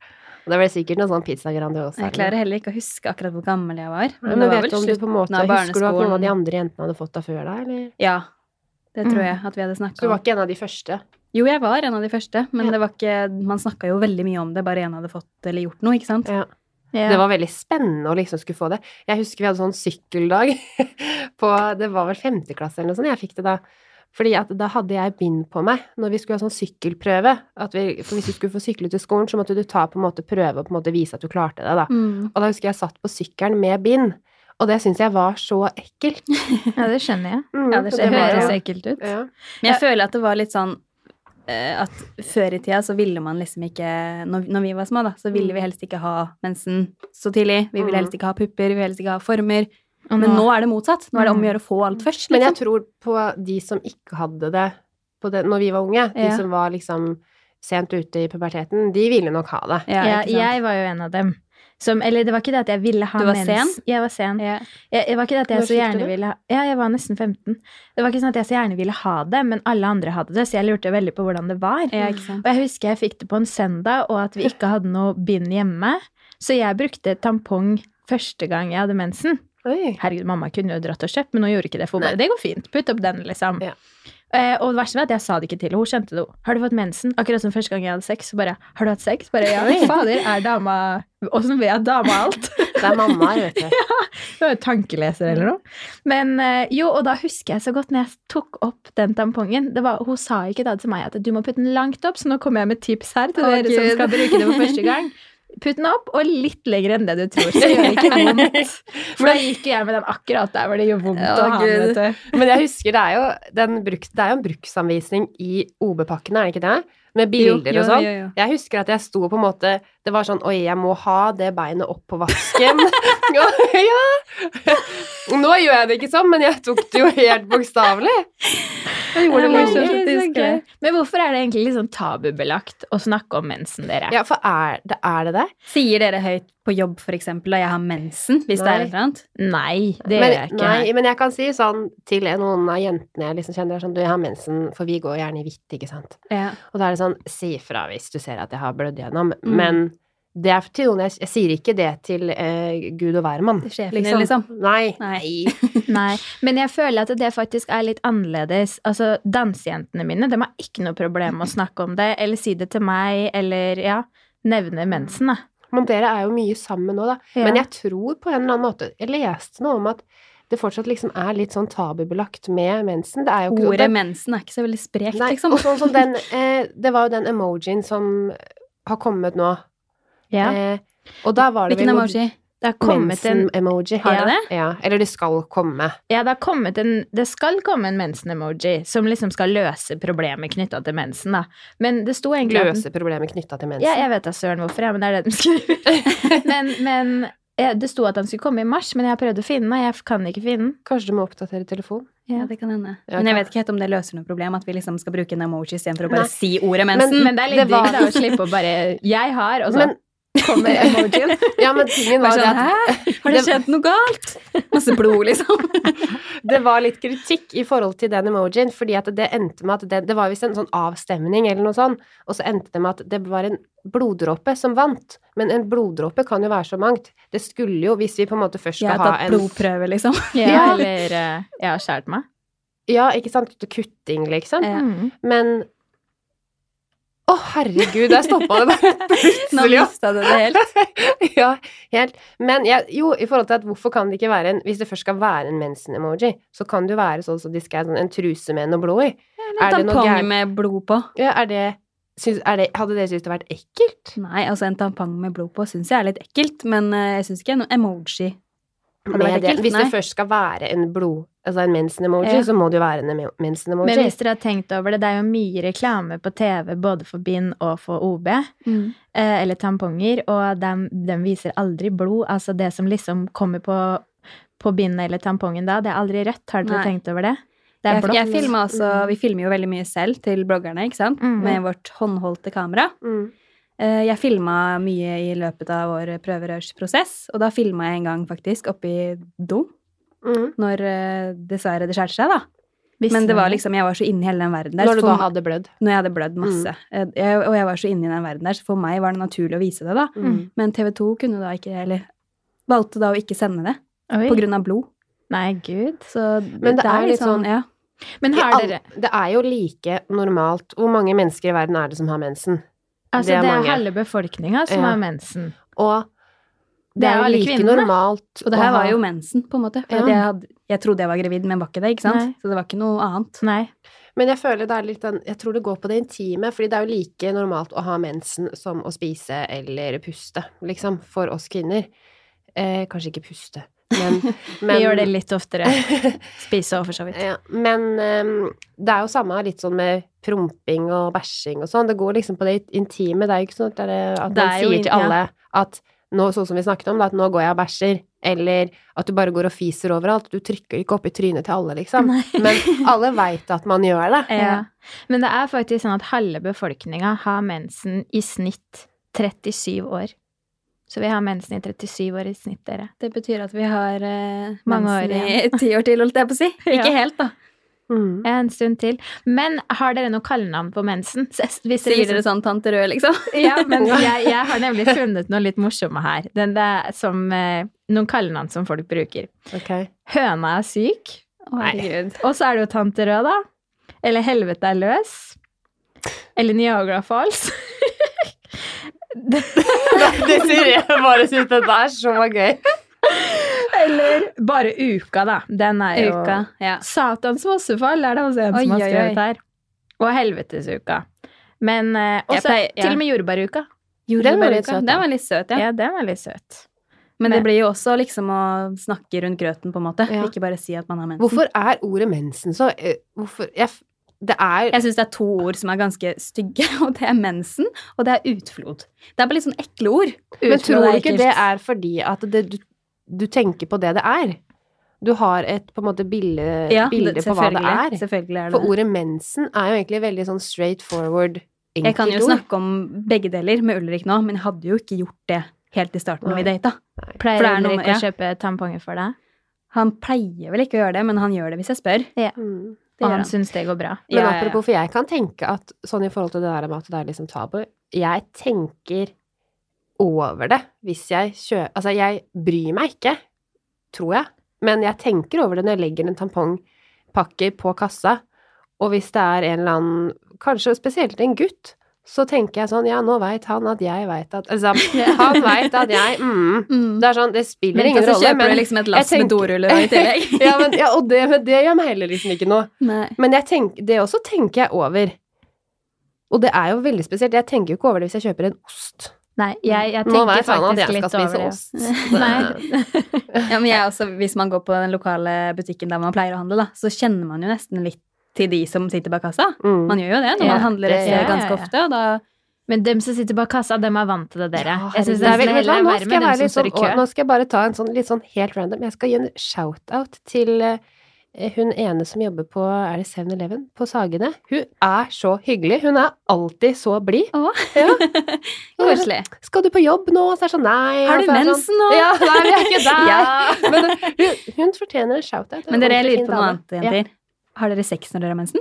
B: Og det ble sikkert noe sånn pizza grandiosa.
C: Jeg klarer heller ikke å huske akkurat hvor gammel jeg var.
B: Men
C: det var
B: vet
C: vel
B: du om du på en måte
C: slutten av
B: Husker du at noen av de
C: barneskolen.
B: andre jentene hadde fått det før deg, eller?
C: Ja, det
D: Mm.
C: tror jeg at vi hadde
B: Så du
C: snakka
B: var
C: om.
B: ikke en av de første?
C: Jo, jeg var en av de første, men
B: Ja.
C: det var ikke, man snakka jo veldig mye om det. Bare én hadde fått eller gjort noe, ikke sant?
B: Ja.
D: Ja.
B: Det var veldig spennende å liksom skulle få det. Jeg husker vi hadde sånn sykkeldag på Det var vel femte klasse eller noe sånt jeg fikk det da. Fordi at da hadde jeg bind på meg når vi skulle ha sånn sykkelprøve. At vi, for hvis du skulle få sykle til skolen, så måtte du ta på en måte prøve og på en måte vise at du klarte det, da.
C: Mm.
B: Og da husker jeg satt på sykkelen med bind, og det syns jeg var så ekkelt.
D: ja, det skjønner jeg.
B: Mm,
C: Ja, det
B: og
C: skjer.
B: var
D: høres
B: jo-
D: ekkelt ut.
B: ja.
C: Men jeg føler at det var litt sånn eh, at før i tida så ville man liksom ikke Når, når vi var små, da, så ville vi helst ikke ha mensen så tidlig. Vi ville
B: Mm.
C: helst ikke ha pupper, vi ville helst ikke ha former.
D: Og
C: Men nå er det motsatt. Nå er det om å gjøre å få alt først.
B: Men jeg
C: liksom.
B: tror på de som ikke hadde det, på det når vi var unge, de
C: Ja.
B: som var liksom sent ute i puberteten, de ville nok ha det.
C: Ja,
D: ja,
C: ikke sant?
D: jeg var jo en av dem. Som, eller det var ikke det at jeg ville ha
C: Du var
D: mens.
C: sen?
D: Jeg var sen.
C: Ja.
D: Jeg, jeg var ikke det at jeg
B: Når fikk
D: så
B: du
D: gjerne
B: det?
D: ville ha Ja, jeg var nesten 15. Det var ikke sånn at jeg så gjerne ville ha det, men alle andre hadde det, så jeg lurte veldig på hvordan det var.
C: Ja, ikke sant.
D: Og jeg Mm. husker jeg fikk det på en søndag, og at vi ikke hadde noe bind hjemme. Så jeg brukte tampong første gang jeg hadde mensen.
B: Oi.
D: Herregud, mamma kunne jo dratt og kjøpt, men hun gjorde ikke det. For hun bare, det går fint, putt opp den, liksom.
B: Ja.
D: Eh, og det verste var at jeg sa det ikke til henne. Hun skjønte det. jo. Har du fått mensen? Akkurat som første gang jeg hadde sex. Så bare, har du hatt sex? Bare, ja, fader, er dama Åssen vet dama alt?
B: Det er mammaer, vet du.
D: Du er jo tankeleser eller noe. Men eh, jo, og da husker jeg så godt når jeg tok opp den tampongen. Det var, hun sa ikke da til meg at du må putte den langt opp, så nå kommer jeg med tips her til
C: Å,
D: dere som
C: Gud.
D: skal bruke det for første gang. Putt den opp, og litt lenger enn det du tror. Så gjør det ikke vondt. For da gikk jo jeg med den akkurat der hvor det gjør vondt
C: Å,
D: å ha den.
C: Gud.
D: vet du.
B: Men jeg husker det er jo, den bruks, det er jo en bruksanvisning i OB-pakkene, er det ikke det? Med
C: Jo,
B: bilder
C: jo,
B: og sånn.
C: jo, jo.
B: Jeg husker at jeg sto på en måte Det var sånn Oi, jeg må ha det beinet opp på vasken. Og ja. Nå gjør jeg det ikke sånn, men jeg tok det jo helt bokstavelig. Jeg
D: Det
B: gjorde
D: er
B: det
D: bare så
B: lenge.
C: Herregud, så
D: fantastisk.
C: gøy.
D: Men hvorfor er det egentlig litt sånn tabubelagt å snakke om mensen, dere?
B: Ja, for er det er det? det?
C: Sier dere høyt på jobb f.eks. da jeg har mensen, hvis det
B: Nei.
C: er et eller annet?
D: Nei, det
B: men,
D: gjør jeg ikke.
B: Nei, men jeg kan si sånn til noen av jentene jeg liksom kjenner, sånn Du, jeg har mensen, for vi går gjerne i hvitt, ikke sant.
C: Ja.
B: Og da er det sånn Si ifra hvis du ser at jeg har blødd gjennom.
C: Mm.
B: Men det er til noen jeg, jeg sier ikke det til eh, gud og hvermann.
C: Til sjefen din, liksom.
B: Nei.
C: Nei.
D: Nei, men jeg føler at det faktisk er litt annerledes. Altså, Dansejentene mine de har ikke noe problem med å snakke om det, eller si det til meg, eller ja, nevne mensen. da.
B: Men dere er jo mye sammen nå, da.
D: Ja.
B: Men jeg tror på en eller annen måte Jeg leste noe om at det fortsatt liksom er litt sånn tabubelagt med mensen. Det er jo ikke sånn
C: Ordet mensen er ikke så veldig sprekt,
B: Nei,
C: liksom.
B: og sånn som den, eh, det var jo den emojien som har kommet nå.
D: Ja.
B: Eh, og da var det
C: Hvilken
B: vel
C: emoji?
D: Det har kommet en,
B: mensen-emoji.
C: Har det
B: ja. Ja. Eller det skal komme.
D: ja, det har kommet en Det skal komme en mensen-emoji som liksom skal løse problemet knytta til mensen, da. Men det sto egentlig at den-
B: Løse problemer knytta til mensen.
D: Ja, jeg vet da søren hvorfor, ja, men det er det de skriver. men men eh, det sto at den skulle komme i mars, men jeg har prøvd å finne den, og jeg kan ikke finne den.
B: Kanskje du må oppdatere telefonen.
C: Ja, det kan hende.
B: Ja,
C: Men jeg
B: kan-
C: vet ikke helt om det løser noe problem at vi liksom skal bruke en emoji istedenfor å
B: Nei.
C: bare si ordet mensen.
D: Men det er litt
B: Det var-
D: digg da å slippe å bare 'Jeg har', altså. og
B: Men,
D: så kommer emojien.
B: ja, men tingen
C: Bare
B: var det at
C: sånn, Hæ? Har det
B: Det-
C: skjedd noe galt? Masse blod, liksom.
B: det var litt kritikk i forhold til den emojien, fordi at det endte med at det, det var visst en sånn avstemning eller noe sånt, og så endte det med at det var en bloddråpe som vant. Men en bloddråpe kan jo være så mangt. Det skulle jo, hvis vi på en måte først
C: Jeg
B: skal
C: har
B: ha
C: tatt
B: en
C: blodprøve, liksom.
D: Ja,
B: Ja.
D: eller eh, jeg har skåret meg.
B: Ja, ikke sant? Kutting, liksom.
C: Ja.
D: Mm.
B: Men Å, herregud, der stoppa det bare
C: Nå
B: plutselig. ass.
C: mista du det helt.
B: ja, helt. Men jeg, jo, i forhold til at hvorfor kan det ikke være en Hvis det først skal være en mensen-emoji, så kan det jo være sånn som de skrev, sånn en truse med noe blod i.
C: En
B: Er det noe
C: tampong
B: gærent?
C: med blod på.
B: Ja, er det, syns, er det Hadde dere syntes det vært ekkelt?
C: Nei, altså en tampong med blod på syns jeg er litt ekkelt, men eh, jeg syns ikke noe emoji. Hadde det vært
B: Med det-
C: ekkelt?
B: Hvis det
C: Nei.
B: først skal være en blod... Altså en mensen-emoji,
C: Ja.
B: så må det jo være en emo-
D: Men
B: mensen-emoji.
D: hvis dere har tenkt over det, det er jo mye reklame på TV både for bind og for OB, eh,
C: Mm.
D: eller tamponger, og de, viser aldri blod. Altså det som liksom kommer på, på bindet eller tampongen da, det er aldri rødt. Har
C: Nei.
D: dere tenkt over det? Det er
C: jeg, jeg
D: blått.
C: filmer også,
B: Mm.
C: vi filmer jo veldig mye selv til bloggerne, ikke sant?
D: Mhm.
C: Med vårt håndholdte kamera.
B: Mm.
C: Eh, Jeg filma mye i løpet av vår prøverørsprosess, og da filma jeg en gang faktisk oppi do,
B: Mm.
C: når eh, dessverre det skjærte seg, da.
D: Visste
C: Men det var
D: dere?
C: liksom, jeg var så inne i hele den verden der. så
B: Når du
C: for
B: da
C: meg-
B: hadde Mm. blødd.
C: når jeg sånn hadde blødd masse. Eh, Jeg, og jeg var så inne i den verden der, så for meg var det naturlig å vise det, da.
B: Mm.
C: Men TV 2 kunne da ikke, eller valgte da å ikke sende det,
D: Oi.
C: liksom på grunn av blod.
D: Nei, gud.
C: Så
B: Men det er litt sånn-
C: ja.
D: Men
B: I
D: har
B: all-
D: dere
B: Det er jo like normalt Hvor mange mennesker i verden er det som har mensen? det
D: Altså,
B: er
D: det er,
B: mange.
D: halve befolkninga som
B: Ja.
D: har mensen.
B: Og det,
D: Det er
B: er jo
D: alle
B: like
D: kvinnene.
B: normalt
C: Og det
B: å
C: her
B: ha-
C: var jo mensen, på en måte.
B: Ja.
C: For at jeg, hadde, jeg trodde jeg var gravid, men var ikke det, ikke sant?
D: Nei.
C: Så det var ikke noe annet.
D: Nei.
B: Men jeg føler det er litt den Jeg tror det går på det intime, fordi det er jo like normalt å ha mensen som å spise eller puste, liksom, for oss kvinner. Eh, kanskje ikke puste. Men,
D: Vi
B: men-
D: gjør det litt oftere. Spise og for så vidt.
B: Ja, men ehm, det er jo samme litt sånn med promping og bæsjing og sånn. Det går liksom på det intime. Det er jo ikke sånn at, det er, at
D: Det
B: man
D: er jo
B: sier til
D: in- ja.
B: alle at nå, sånn som vi snakket om, da, at nå går jeg og bæsjer. Eller at du bare går og fiser overalt. Du trykker ikke opp i trynet til alle, liksom.
D: Nei.
B: Men alle veit at man gjør det.
D: Ja. Eh, Men det er faktisk sånn at halve befolkninga har mensen i snitt 37 år. Så vi har mensen i 37 år i snitt, dere.
C: Det betyr at vi har eh,
D: Mange
C: mensen
D: år
C: i ti år til, holdt jeg på å si. Ikke
D: Ja.
C: helt, da.
B: Mm.
D: Ja, En stund til. Men har dere noe kallenavn på mensen? Så jeg- Hvis liksom-
C: Sier dere sånn tante rød, liksom?
D: Ja, men jeg, jeg har nemlig funnet noe litt morsomme her. Den der, som, eh, noen kallenavn som folk bruker.
B: Ok.
D: Høna er syk.
C: Å, herregud.
D: Og så er det jo Tante Rød, da. Eller Helvete er løs. Eller Niagara Falls.
B: Det sier jeg bare syns dette er så gøy.
D: Eller bare Uka, da. Den er jo
C: Uka. Ja.
D: Satans vossefall er det også en
C: Oi,
D: som har
C: oi,
D: skrevet
C: oi.
D: her. Og Helvetesuka. Men eh, også
C: pleier- ja.
D: til og med jordbæruka.
B: Den var litt søt, da.
C: Den var litt søt,
D: Ja.
C: ja.
D: den var litt søt.
C: Men
D: Men-
C: det blir jo også liksom å snakke rundt grøten, på en måte.
B: Ja.
C: Ikke bare si at man har mensen.
B: Hvorfor er ordet mensen så eh, Hvorfor jeg, f- Det er
C: Jeg syns det er to ord som er ganske stygge, og det er mensen, og det er utflod. Det er bare litt sånn ekle ord.
B: Men
C: Utflod
B: tror du
C: er
B: ikke
C: ekkelt.
B: det er fordi at det, du, du tenker på det det er? Du har et på en måte bilde,
C: Ja,
B: bilde på hva det
C: selvfølgelig.
B: er.
C: Selvfølgelig er det
B: For
C: det.
B: ordet mensen er jo egentlig veldig sånn straight forward
C: Jeg kan jo
B: enkeltord.
C: snakke om begge deler med Ulrik nå, men jeg hadde jo ikke gjort det helt i starten når vi data.
D: Pleier
C: For det er noe
D: Ulrik
C: med- ja.
D: å kjøpe tamponger for deg?
C: Han pleier vel ikke å gjøre det, men han gjør det hvis jeg spør.
B: Mm.
C: Det
D: Og
C: gjør
D: han
C: han.
D: syns det går bra.
B: Men
C: Ja, ja, ja.
B: apropos, for jeg kan tenke at sånn i forhold til det der med at det er liksom tabu Jeg tenker over det hvis jeg kjøper Altså, jeg bryr meg ikke, tror jeg, men jeg tenker over det når jeg legger en tampongpakke på kassa, og hvis det er en eller annen Kanskje spesielt en gutt. Så tenker jeg sånn Ja, nå veit han at jeg veit at Altså, han veit at jeg mm.
C: Mm.
B: Det er sånn Det spiller
C: Men
B: ingen
C: så
B: rolle,
C: kjøper
B: men
C: du liksom et lass
B: jeg
C: med doruller i tillegg.
B: ja, men, ja, og det, men det gjør meg heller liksom ikke noe.
C: Nei.
B: Men jeg tenk, det også tenker jeg over. Og det er jo veldig spesielt. Jeg tenker jo ikke over det hvis jeg kjøper en ost.
D: Nei, jeg, jeg
B: Mm. Nå
D: tenker
B: vet han at
D: faktisk
B: jeg
D: litt
B: skal spise
D: over det.
B: ost.
D: Nei.
C: Ja, men jeg også, hvis man går på den lokale butikken der man pleier å handle, da, så kjenner man jo nesten litt til de som sitter bak kassa.
B: Mm.
C: Man gjør jo det når
D: Ja,
C: man handler et
B: det-
C: sted
D: ja, ja,
C: ganske
D: ja.
C: ofte, og da
D: Men dem som sitter bak kassa, dem er vant til det, dere.
B: Ja,
D: jeg syns
B: herregud. Nei,
D: det er
B: vel- vel,
D: heller
B: nå
D: verre
B: skal jeg
D: med
B: være litt
D: dem som står i
B: sånn-
D: kø.
B: å, Nå skal jeg bare ta en sånn litt sånn helt random Jeg skal gi en shout-out til eh, hun ene som jobber på Er det 7-Eleven? På Sagene. Hun er så hyggelig. Hun er alltid så blid.
C: Å,
B: Ja.
C: koselig.
B: Skal du på jobb nå? Så er det sånn Nei. og så
C: Har du
B: er det
C: mensen nå?
B: Sånn, ja, nei, vi er ikke der.
C: Ja.
B: Men hun, hun fortjener en shout-out.
C: Men dere, jeg
B: Ordentlig fin
C: lurer på noe
B: dame.
C: annet, jenter. Har dere sex når dere har mensen?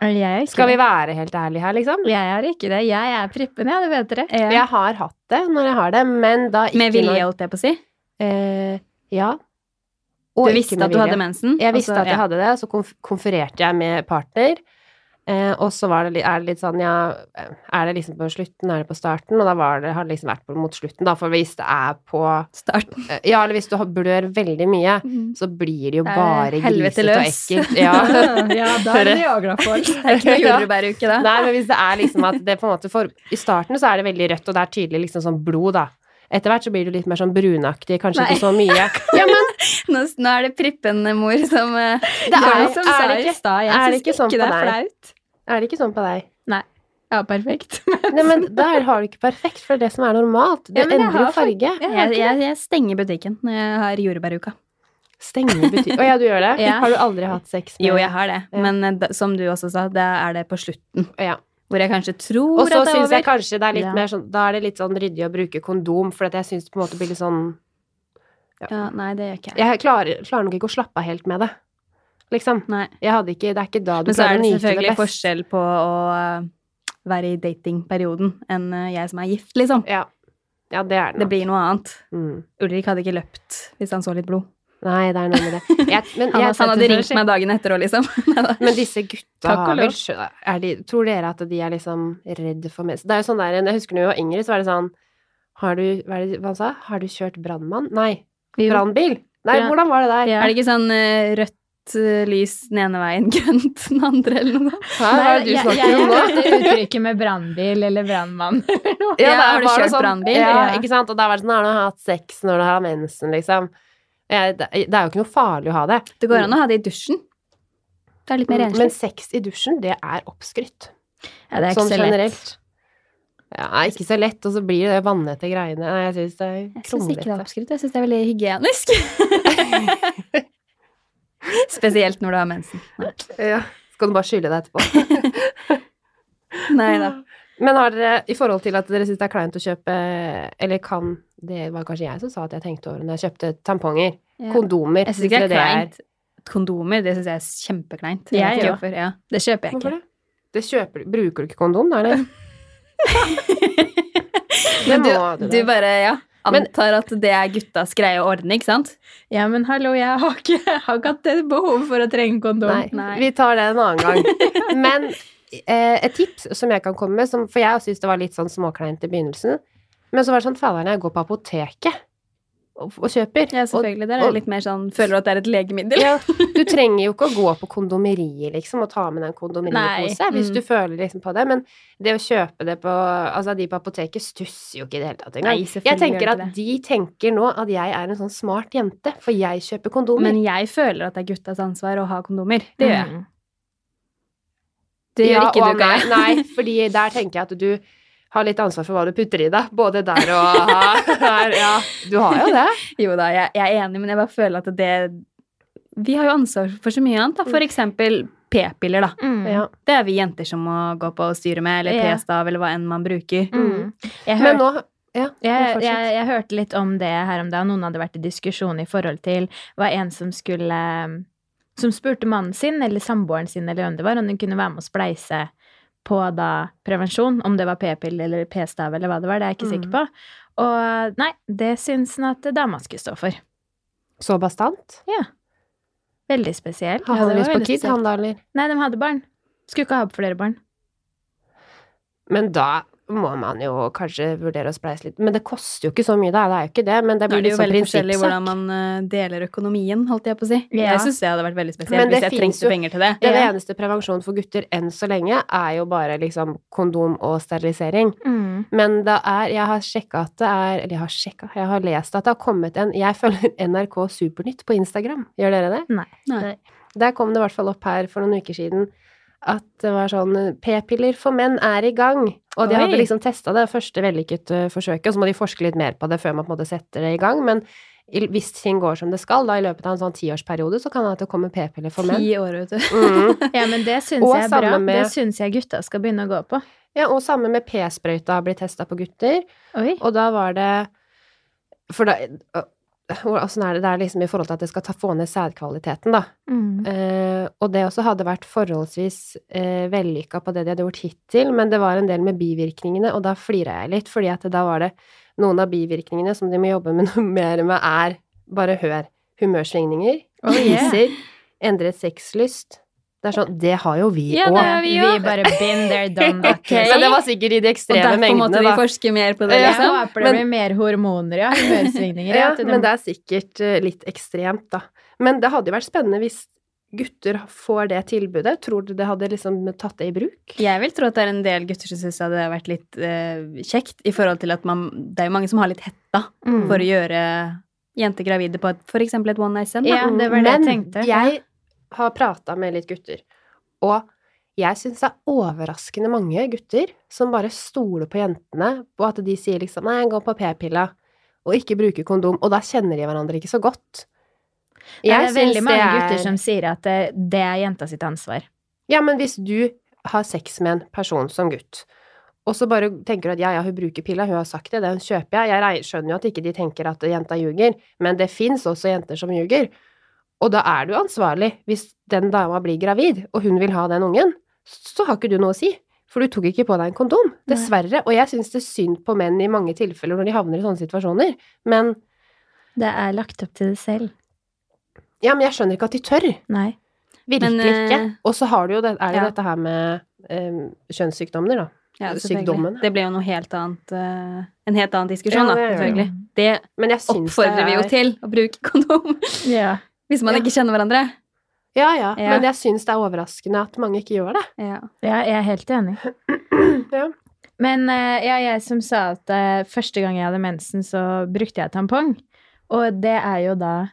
D: Jeg er ikke
B: Skal vi
D: det.
B: være helt ærlige her, liksom?
D: Jeg er ikke det. Jeg er prippen, ja, det vet dere.
B: Jeg har hatt det når jeg har det, men da ikke
C: Med vilje, holdt jeg på å si.
B: når eh, Ja. Og
C: Du
B: ikke
C: visste
B: med
C: at du hadde Altså,
B: vilje.
C: mensen?
B: Jeg visste
C: og så-
B: at jeg hadde det, og så konf konfererte jeg med partner. Eh, og så var det, li- er det litt sånn, ja Er det liksom på slutten, er det på starten? Og da var det, har det liksom vært på, mot slutten, da, for hvis det er på
C: ja. Starten.
B: eh, Ja, eller hvis du har- blør veldig mye, så blir det jo
C: Det er
B: bare
C: helvete
B: grisete og
C: løs.
B: ekkelt. Ja.
D: ja, da
B: Dere-
D: er vi Niagara-folk.
C: Det er ikke noe
B: Ja.
C: jordbæruke, da.
B: Nei, men hvis det er liksom at det på en måte for, I starten så er det veldig rødt, og det er tydelig liksom sånn blod, da. Etter hvert så blir det litt mer sånn brunaktig, kanskje
C: Nei.
B: ikke så mye. Ja, men
C: Nå, nå er det prippende mor som eh,
B: det er,
C: gjør
B: er,
C: det som sa
B: det
C: i
B: ikke,
C: stad. Jeg
B: er det
C: synes
B: ikke sånn
C: ikke
B: på
C: det er
B: deg?
C: flaut.
B: er det ikke sånn på deg?
D: Ja, perfekt.
B: Nei, men der har du ikke perfekt, for det er det som er normalt. Det
D: Ja, men jeg
B: endrer jo
D: har fak-
B: farge.
C: Jeg, jeg, jeg stenger butikken når jeg har jordbæruka.
B: Stenger butikk Å ja, du gjør det?
D: Ja.
B: Har du aldri hatt sex med
C: Jo, jeg har det,
B: Ja.
C: men eh, da, som du også sa, da er det på slutten.
B: Ja.
C: Hvor jeg kanskje tror
B: Og så
C: at det er
B: syns jeg
C: over.
B: kanskje det er litt
D: Ja.
B: mer sånn Da er det litt sånn ryddig å bruke kondom, for at jeg syns det på en måte blir litt sånn
C: Ja, nei, det gjør ikke jeg.
B: Jeg klarer, klarer nok ikke å slappe av helt med det. Liksom.
C: Nei.
B: Jeg hadde ikke Det er ikke da du
C: Men så
B: klarer
C: er
B: å
C: det
B: nyte det
C: selvfølgelig
B: best.
C: forskjell på å eh, være i datingperioden enn eh, jeg som er gift, liksom.
B: Ja. ja, det er det.
C: Det
B: nok.
C: blir noe annet.
B: Mm.
C: Ulrik hadde ikke løpt hvis han så litt blod.
B: Nei, det er noe med det. Jeg, men,
C: Han,
B: jeg, sånn,
C: han hadde ringt meg dagen etter òg, liksom. Neida.
B: men disse gutta
C: Takk og
B: har
C: lov.
B: vel skjø- er de, Tror dere at de er liksom redd for mensen? Det er jo sånn der, jeg husker når vi var yngre, så var det sånn har du, hva, er det, hva han sa? Har du kjørt brannmann? Nei.
D: Jo.
B: Brannbil? Nei,
D: Ja.
B: hvordan var det der?
D: Ja.
C: Er det ikke sånn eh, rødt rødt eh, lys den ene veien, grønt den andre, eller noe.
B: Hva er det du
D: jeg-
B: snakker om nå?
D: Jeg jeg hørte uttrykket med brannbil eller brannmann.
C: Ja,
B: det
C: har du
B: var noe
C: kjørt brannbil?
B: Ja,
C: Ja.
B: ikke sant? Og da var det sånn, har du hatt sex når du har mensen, liksom? Jeg, det, det er jo ikke noe farlig å ha det.
C: Det går an å ha det i dusjen. Det er litt mer
B: Mm, Men
C: renslig.
B: sex i dusjen, det er oppskrytt.
D: Ja, det er ikke
B: Sånn
D: så lett.
B: generelt. Ja, ikke så lett, og så blir det det vannete greiene. Nei, jeg syns det er
C: Jeg syns ikke det er
B: kronglete.
C: oppskrytt. Jeg syns det er veldig hygienisk. Spesielt når du har mensen. Nei,
B: Ja. Skal du bare skylle deg etterpå?
C: Nei da.
B: Men har dere, i forhold til at dere syns det er kleint å kjøpe Eller kan Det var kanskje jeg som sa at jeg tenkte over det når jeg kjøpte tamponger.
C: Ja.
B: Kondomer.
C: Jeg syns ikke
B: dere
C: det er kleint. Kondomer, det syns jeg er kjempekleint.
D: Jeg
C: vet ikke
D: òg.
C: hvorfor, ja.
D: Det kjøper jeg
B: Hvorfor
D: ikke.
B: det? det kjøper, bruker du ikke kondom, da, eller? det må
C: Men du,
B: du, da.
C: du bare ja,
B: Men-
C: antar at det er guttas greie å ordne, ikke sant?
D: Ja, men hallo, jeg har ikke, har ikke hatt det behovet for å trenge kondom.
B: Nei,
C: Nei.
B: vi tar det en annen gang. Men eh, et tips som jeg kan komme med, som, for jeg syns det var litt sånn småkleint i begynnelsen, men så var det sånn fader'n, jeg går på apoteket og, og kjøper.
C: Ja, selvfølgelig. Der er
B: og-
C: det litt mer sånn Føler du at det er et legemiddel?
B: Ja, du trenger jo ikke å gå på kondomeriet liksom, og ta med deg en kondomeripose
C: Nei,
B: hvis
C: mm.
B: du føler liksom på det, men det å kjøpe det på Altså, de på apoteket stusser jo ikke i det hele tatt engang. Jeg tenker
C: gjør
B: at
C: det ikke det.
B: de tenker nå at jeg er en sånn smart jente, for jeg kjøper kondomer.
C: Men jeg føler at det er guttas ansvar å ha kondomer. Det gjør jeg.
D: Mm.
C: Det gjør
B: Ja,
C: ikke
B: og
C: du, Kaja.
B: nei, Nei, fordi der tenker jeg at du har litt ansvar for hva du putter i deg. Både der og her. Ja, du har jo det.
C: Jo da, jeg, jeg er enig, men jeg bare føler at det Vi har jo ansvar for så mye annet, da. For eksempel p-piller, da.
D: Mm.
B: Ja.
C: Det er vi jenter som må gå på og styre med, eller
D: Ja.
C: p-stav, eller hva enn man bruker.
D: Mm. Jeg, hørte,
B: Men nå ja,
D: jeg,
B: fortsett.
D: jeg, jeg hørte litt om det her om dagen. Noen hadde vært i diskusjon i forhold til hva en som skulle Som spurte mannen sin eller samboeren sin eller hvem det var, om hun kunne være med å spleise på da prevensjon. Om det var p-pille eller p-stav eller hva det var, det er jeg ikke
B: Mm.
D: sikker på. Og nei, det syns han at dama skulle stå for.
B: Så bastant.
D: Veldig spesielt.
B: Har
D: Ja,
B: han
D: det var
B: lyst på
D: veldig
B: kid,
D: spesielt.
B: han da, eller?
D: Nei, de hadde barn. Skulle ikke ha flere barn.
B: Men da må man jo kanskje vurdere å spleise litt. Men det koster jo ikke så mye, da. Det er jo ikke det, men det
C: Da
B: blir
C: er det
B: litt
C: jo
B: sånn
C: veldig forskjellig hvordan
B: prinsippsak.
C: man eh, deler økonomien, holdt jeg på å si.
D: Ja.
C: Jeg syns det hadde vært veldig spesielt
B: Men det
C: hvis jeg
B: finnes
C: trengte
B: jo-
C: penger til det.
B: Den
D: Ja.
B: eneste prevensjonen for gutter enn så lenge er jo bare liksom kondom og sterilisering.
D: Mm.
B: Men det er Jeg har sjekka at det er Eller jeg har sjekka, jeg har lest at det har kommet en Jeg følger NRK Supernytt på Instagram. Gjør dere det?
D: Nei.
C: Nei.
B: Der kom det i hvert fall opp her for noen uker siden at det var sånn P-piller for menn er i gang. Og de
C: Oi.
B: hadde liksom testa det første vellykkede forsøket, og så må de forske litt mer på det før man på en måte setter det i gang. Men i- hvis ting går som det skal, da i løpet av en sånn tiårsperiode, så kan det at det kommer p-piller for menn.
C: Ti år, vet du.
B: Mm.
D: Ja, men det syns
B: Og
D: jeg er bra.
B: sammen med-
D: Det syns jeg gutta skal begynne å gå på.
B: Ja, og samme med p-sprøyta har blitt testa på gutter.
D: Oi.
B: Og da var det For da øh, Åssen er det? Det er liksom i forhold til at det skal ta, få ned sædkvaliteten, da.
D: Mm.
B: Eh, og det også hadde vært forholdsvis eh, vellykka på det de hadde gjort hittil, men det var en del med bivirkningene, og da flira jeg litt, fordi at da var det noen av bivirkningene som de må jobbe med noe mer med, er bare hør humørsvingninger,
D: Oh, yeah.
B: kriser, endret sexlyst. Det er sånn Det har jo vi òg.
C: Ja, det har vi jo.
D: bare been there, done that.
C: Ok.
B: Men det var sikkert i de
C: Og
B: ekstreme
C: derfor måtte
B: mengdene,
C: vi
B: da.
C: forske mer på det,
B: Ja.
D: Jeg
C: liksom.
D: håper det blir mer hormoner, ja. Humørsvingninger.
B: Ja,
D: at de-
B: men det er sikkert eh, litt ekstremt, da. Men det hadde jo vært spennende hvis gutter får det tilbudet. Tror du det hadde liksom tatt det i bruk?
C: Jeg vil tro at det er en del gutter som syns det hadde vært litt eh, kjekt, i forhold til at man Det er jo mange som har litt hetta
D: Mm.
C: for å gjøre jenter gravide på et, for eksempel et one night stand.
D: Ja,
C: Da.
D: det var det jeg tenkte.
B: Men jeg har prata med litt gutter, og jeg syns det er overraskende mange gutter som bare stoler på jentene, og at de sier liksom 'nei, jeg går på p-pilla', og ikke bruker kondom, og da kjenner de hverandre ikke så godt.
D: Nei,
B: Jeg
D: det er veldig
B: syns
D: mange
B: er-
D: gutter som sier at det, det er jenta sitt ansvar.
B: Ja, men hvis du har sex med en person som gutt, og så bare tenker du at ja, ja, hun bruker pilla, hun har sagt det, den kjøper jeg. Jeg rei- skjønner jo at ikke de tenker at jenta ljuger, men det fins også jenter som ljuger. Og da er du ansvarlig hvis den dama blir gravid, og hun vil ha den ungen. Så har ikke du noe å si, for du tok ikke på deg en kondom.
D: Nei.
B: Dessverre. Og jeg syns det er synd på menn i mange tilfeller når de havner i sånne situasjoner, men
D: Det er lagt opp til det selv.
B: ja, men jeg skjønner ikke at de tør.
D: Nei.
B: Virkelig
C: Men, eh,
B: ikke. Og så har du jo det, er det
C: ja.
B: dette her med eh, kjønnssykdommer, da.
C: Ja, selvfølgelig.
B: Altså, sykdommen.
C: Det ble jo noe helt annet eh, En helt annen diskusjon,
B: Ja,
C: da,
B: det gjør
C: selvfølgelig. Det
B: Men jeg syns det
C: oppfordrer vi jo
B: er-
C: til å bruke kondom
D: Ja.
C: hvis man
B: Ja.
C: ikke kjenner hverandre.
B: Ja, ja,
C: Ja.
B: men jeg syns det er overraskende at mange ikke gjør det.
C: Ja.
D: Ja, jeg er helt enig.
B: Ja.
D: Men eh, ja, jeg som sa at eh, første gang jeg hadde mensen, så brukte jeg tampong. Og det er jo da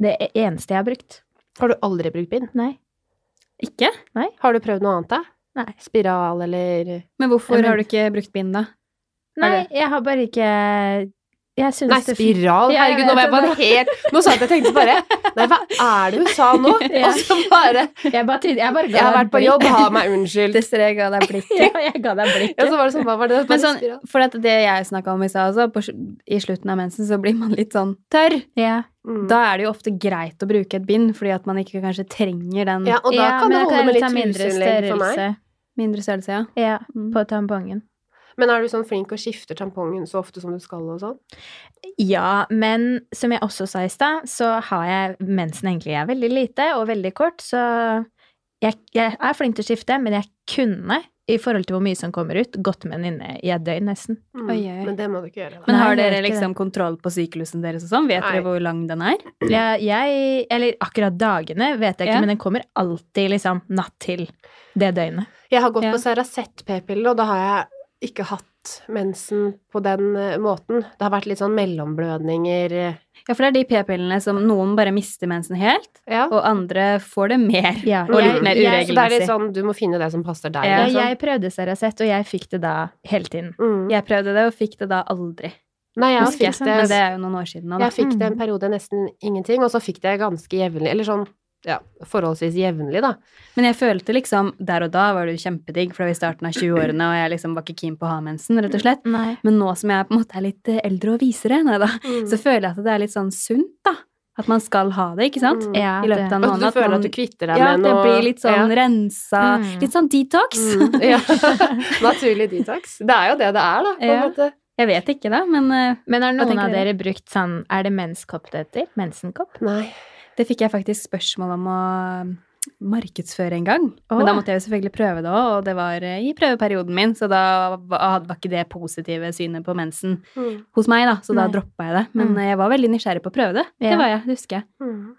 D: det e-, eneste jeg har brukt.
B: Har du aldri brukt bind?
D: Nei.
C: Ikke?
B: Har du prøvd noe annet, da?
D: Nei.
B: Spiral eller
C: Men hvorfor
D: Jeg men-
C: har du ikke brukt bind, da? Er
D: Nei, jeg har bare ikke Jeg syns
B: Nei,
D: det
B: spiral!
D: Ja, jeg
B: Herregud, nå var
D: vet
B: jeg bare helt Nå satt jeg og tenkte bare Nei, hva er det hun sa nå?
D: Ja.
B: Og så bare
D: Jeg bare, tydde, jeg bare ga
B: Jeg har
D: deg
B: vært på
D: blikk.
B: jobb, ha meg unnskyldt.
C: Dessverre ga deg
D: Ja, jeg ga deg
B: Ja,
D: blikket.
B: så var det sånn, hva var det?
C: Men
B: Bare
C: sånn,
B: spiral.
C: for at det jeg snakka om i stad også, på, sl- i slutten av mensen så blir man litt sånn tørr.
D: Ja.
B: Mm.
C: Da er det jo ofte greit å bruke et bind, fordi at man ikke kanskje trenger den
B: ja, og da
D: Ja,
B: kan det
D: men
B: holde
D: jeg
B: med
D: ta
B: litt
D: mindre
B: huseinnlegg for meg.
D: størrelse.
C: mindre størrelse, ja.
D: Ja,
C: Mm.
D: på tampongen.
B: Men er du sånn flink og skifter tampongen så ofte som du skal og sånn?
D: Ja, men som jeg også sa i stad, så har jeg mensen egentlig er veldig lite og veldig kort, så jeg, jeg er flink til å skifte, men jeg kunne, i forhold til hvor mye som kommer ut, gått med den inne i et døgn nesten.
B: Mm.
C: Oi, oi.
B: Men det må du ikke gjøre. Da.
C: Men
D: Nei,
C: har
D: jeg
C: dere
D: gjør ikke
C: liksom kontroll på syklusen deres og sånn? Vet
B: Nei.
C: dere hvor lang den er?
D: Jeg, jeg, eller akkurat dagene vet jeg ikke,
C: Ja.
D: men den kommer alltid liksom natt til det døgnet.
B: Jeg har gått
C: Ja.
B: på Ceracet p-piller, og da har jeg ikke hatt mensen på den eh, måten. Det har vært litt sånn mellomblødninger eh,
C: Ja, for det er de p-pillene som noen bare mister mensen helt,
B: Ja.
C: og andre får det mer.
D: Ja,
C: Og litt
D: jeg-
C: mer
B: Så det er litt
C: uregelmessig.
B: sånn du må finne det som passer deg.
C: Ja,
D: Ja,
B: liksom.
D: jeg prøvde Seracet, og jeg fikk det da hele tiden.
B: Mm.
C: Jeg prøvde det og fikk det da aldri.
B: Nei, jeg
C: Husker jeg,
B: fikk det,
C: Men det er jo noen år siden nå, da.
B: jeg fikk det en
D: Mm.
B: periode nesten ingenting, og så fikk det ganske jevnlig, eller sånn ja, forholdsvis jevnlig, da.
C: Men jeg følte liksom Der og da var det jo kjempedigg, for det var i starten av 20-årene, og jeg liksom var ikke keen på å ha mensen, rett og slett.
D: Nei.
C: Men nå som jeg på en måte er litt eh, eldre og visere, nei da,
D: Mm.
C: så føler jeg at det er litt sånn sunt, da. At man skal ha det, ikke sant?
B: Mm.
D: Ja,
C: I løpet av
D: det-
C: en
B: At
C: måned.
B: du føler
C: man-
B: at du kvitter deg
C: ja, at
B: med
C: det
B: noe
C: blir litt sånn rensa.
D: Mm.
C: Litt sånn detox.
B: Mm, ja. Naturlig detox. Det er jo det det er, da. På en
C: Ja.
B: måte.
C: Jeg vet ikke, da, men eh,
D: Men har
C: Hva
D: noen
C: tenker
D: av
C: dere?
D: dere brukt sånn Er det menskopp det heter? Mensenkopp?
B: Nei.
C: det fikk jeg faktisk spørsmål om å mm, markedsføre en gang.
D: Åh.
C: Men da måtte jeg jo selvfølgelig prøve det òg, og det var eh, i prøveperioden min, så da var var ikke det positive synet på mensen
B: Mm.
C: hos meg, da, så da
D: Nei.
C: droppa jeg det. Men
D: Mm.
C: eh, jeg var veldig nysgjerrig på å prøve det.
D: Ja.
C: Det var jeg, det husker jeg.
B: Mm.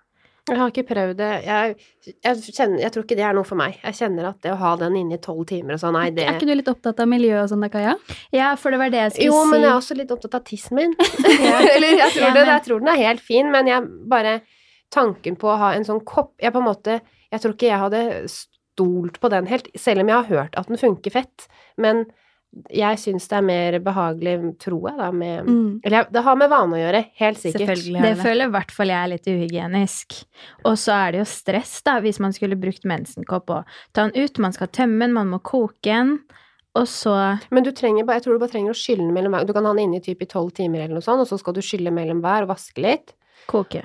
B: Jeg har ikke prøvd det. Jeg, jeg, kjenner, jeg tror ikke det er noe for meg. Jeg kjenner at det å ha den inne i tolv timer og sånn, nei, det
C: Er ikke du litt opptatt av miljø og sånn da, Kaja?
D: Ja, for det var det jeg skulle
B: Jo,
D: si.
B: men jeg er også litt opptatt av tissen min.
D: Ja.
B: Eller jeg tror, det,
D: Ja, men-
B: jeg tror den er helt fin, men jeg bare Tanken på å ha en sånn kopp Jeg på en måte Jeg tror ikke jeg hadde stolt på den helt, selv om jeg har hørt at den funker fett. Men jeg syns det er mer behagelig, tror jeg, da, med Eller jeg- det har med vane å gjøre, helt sikkert.
C: Mm. Selvfølgelig
D: Det
C: har jeg det.
D: føler i hvert fall jeg er litt uhygienisk. Og så er det jo stress, da, hvis man skulle brukt mensenkopp og ta den ut. Man skal tømme den, man må koke den, og så
B: Men du trenger bare, jeg tror du bare trenger å skylle den mellom hver. Du kan ha den inne i typ i tolv timer eller noe sånt, og så skal du skylle mellom hver og vaske litt.
D: koke.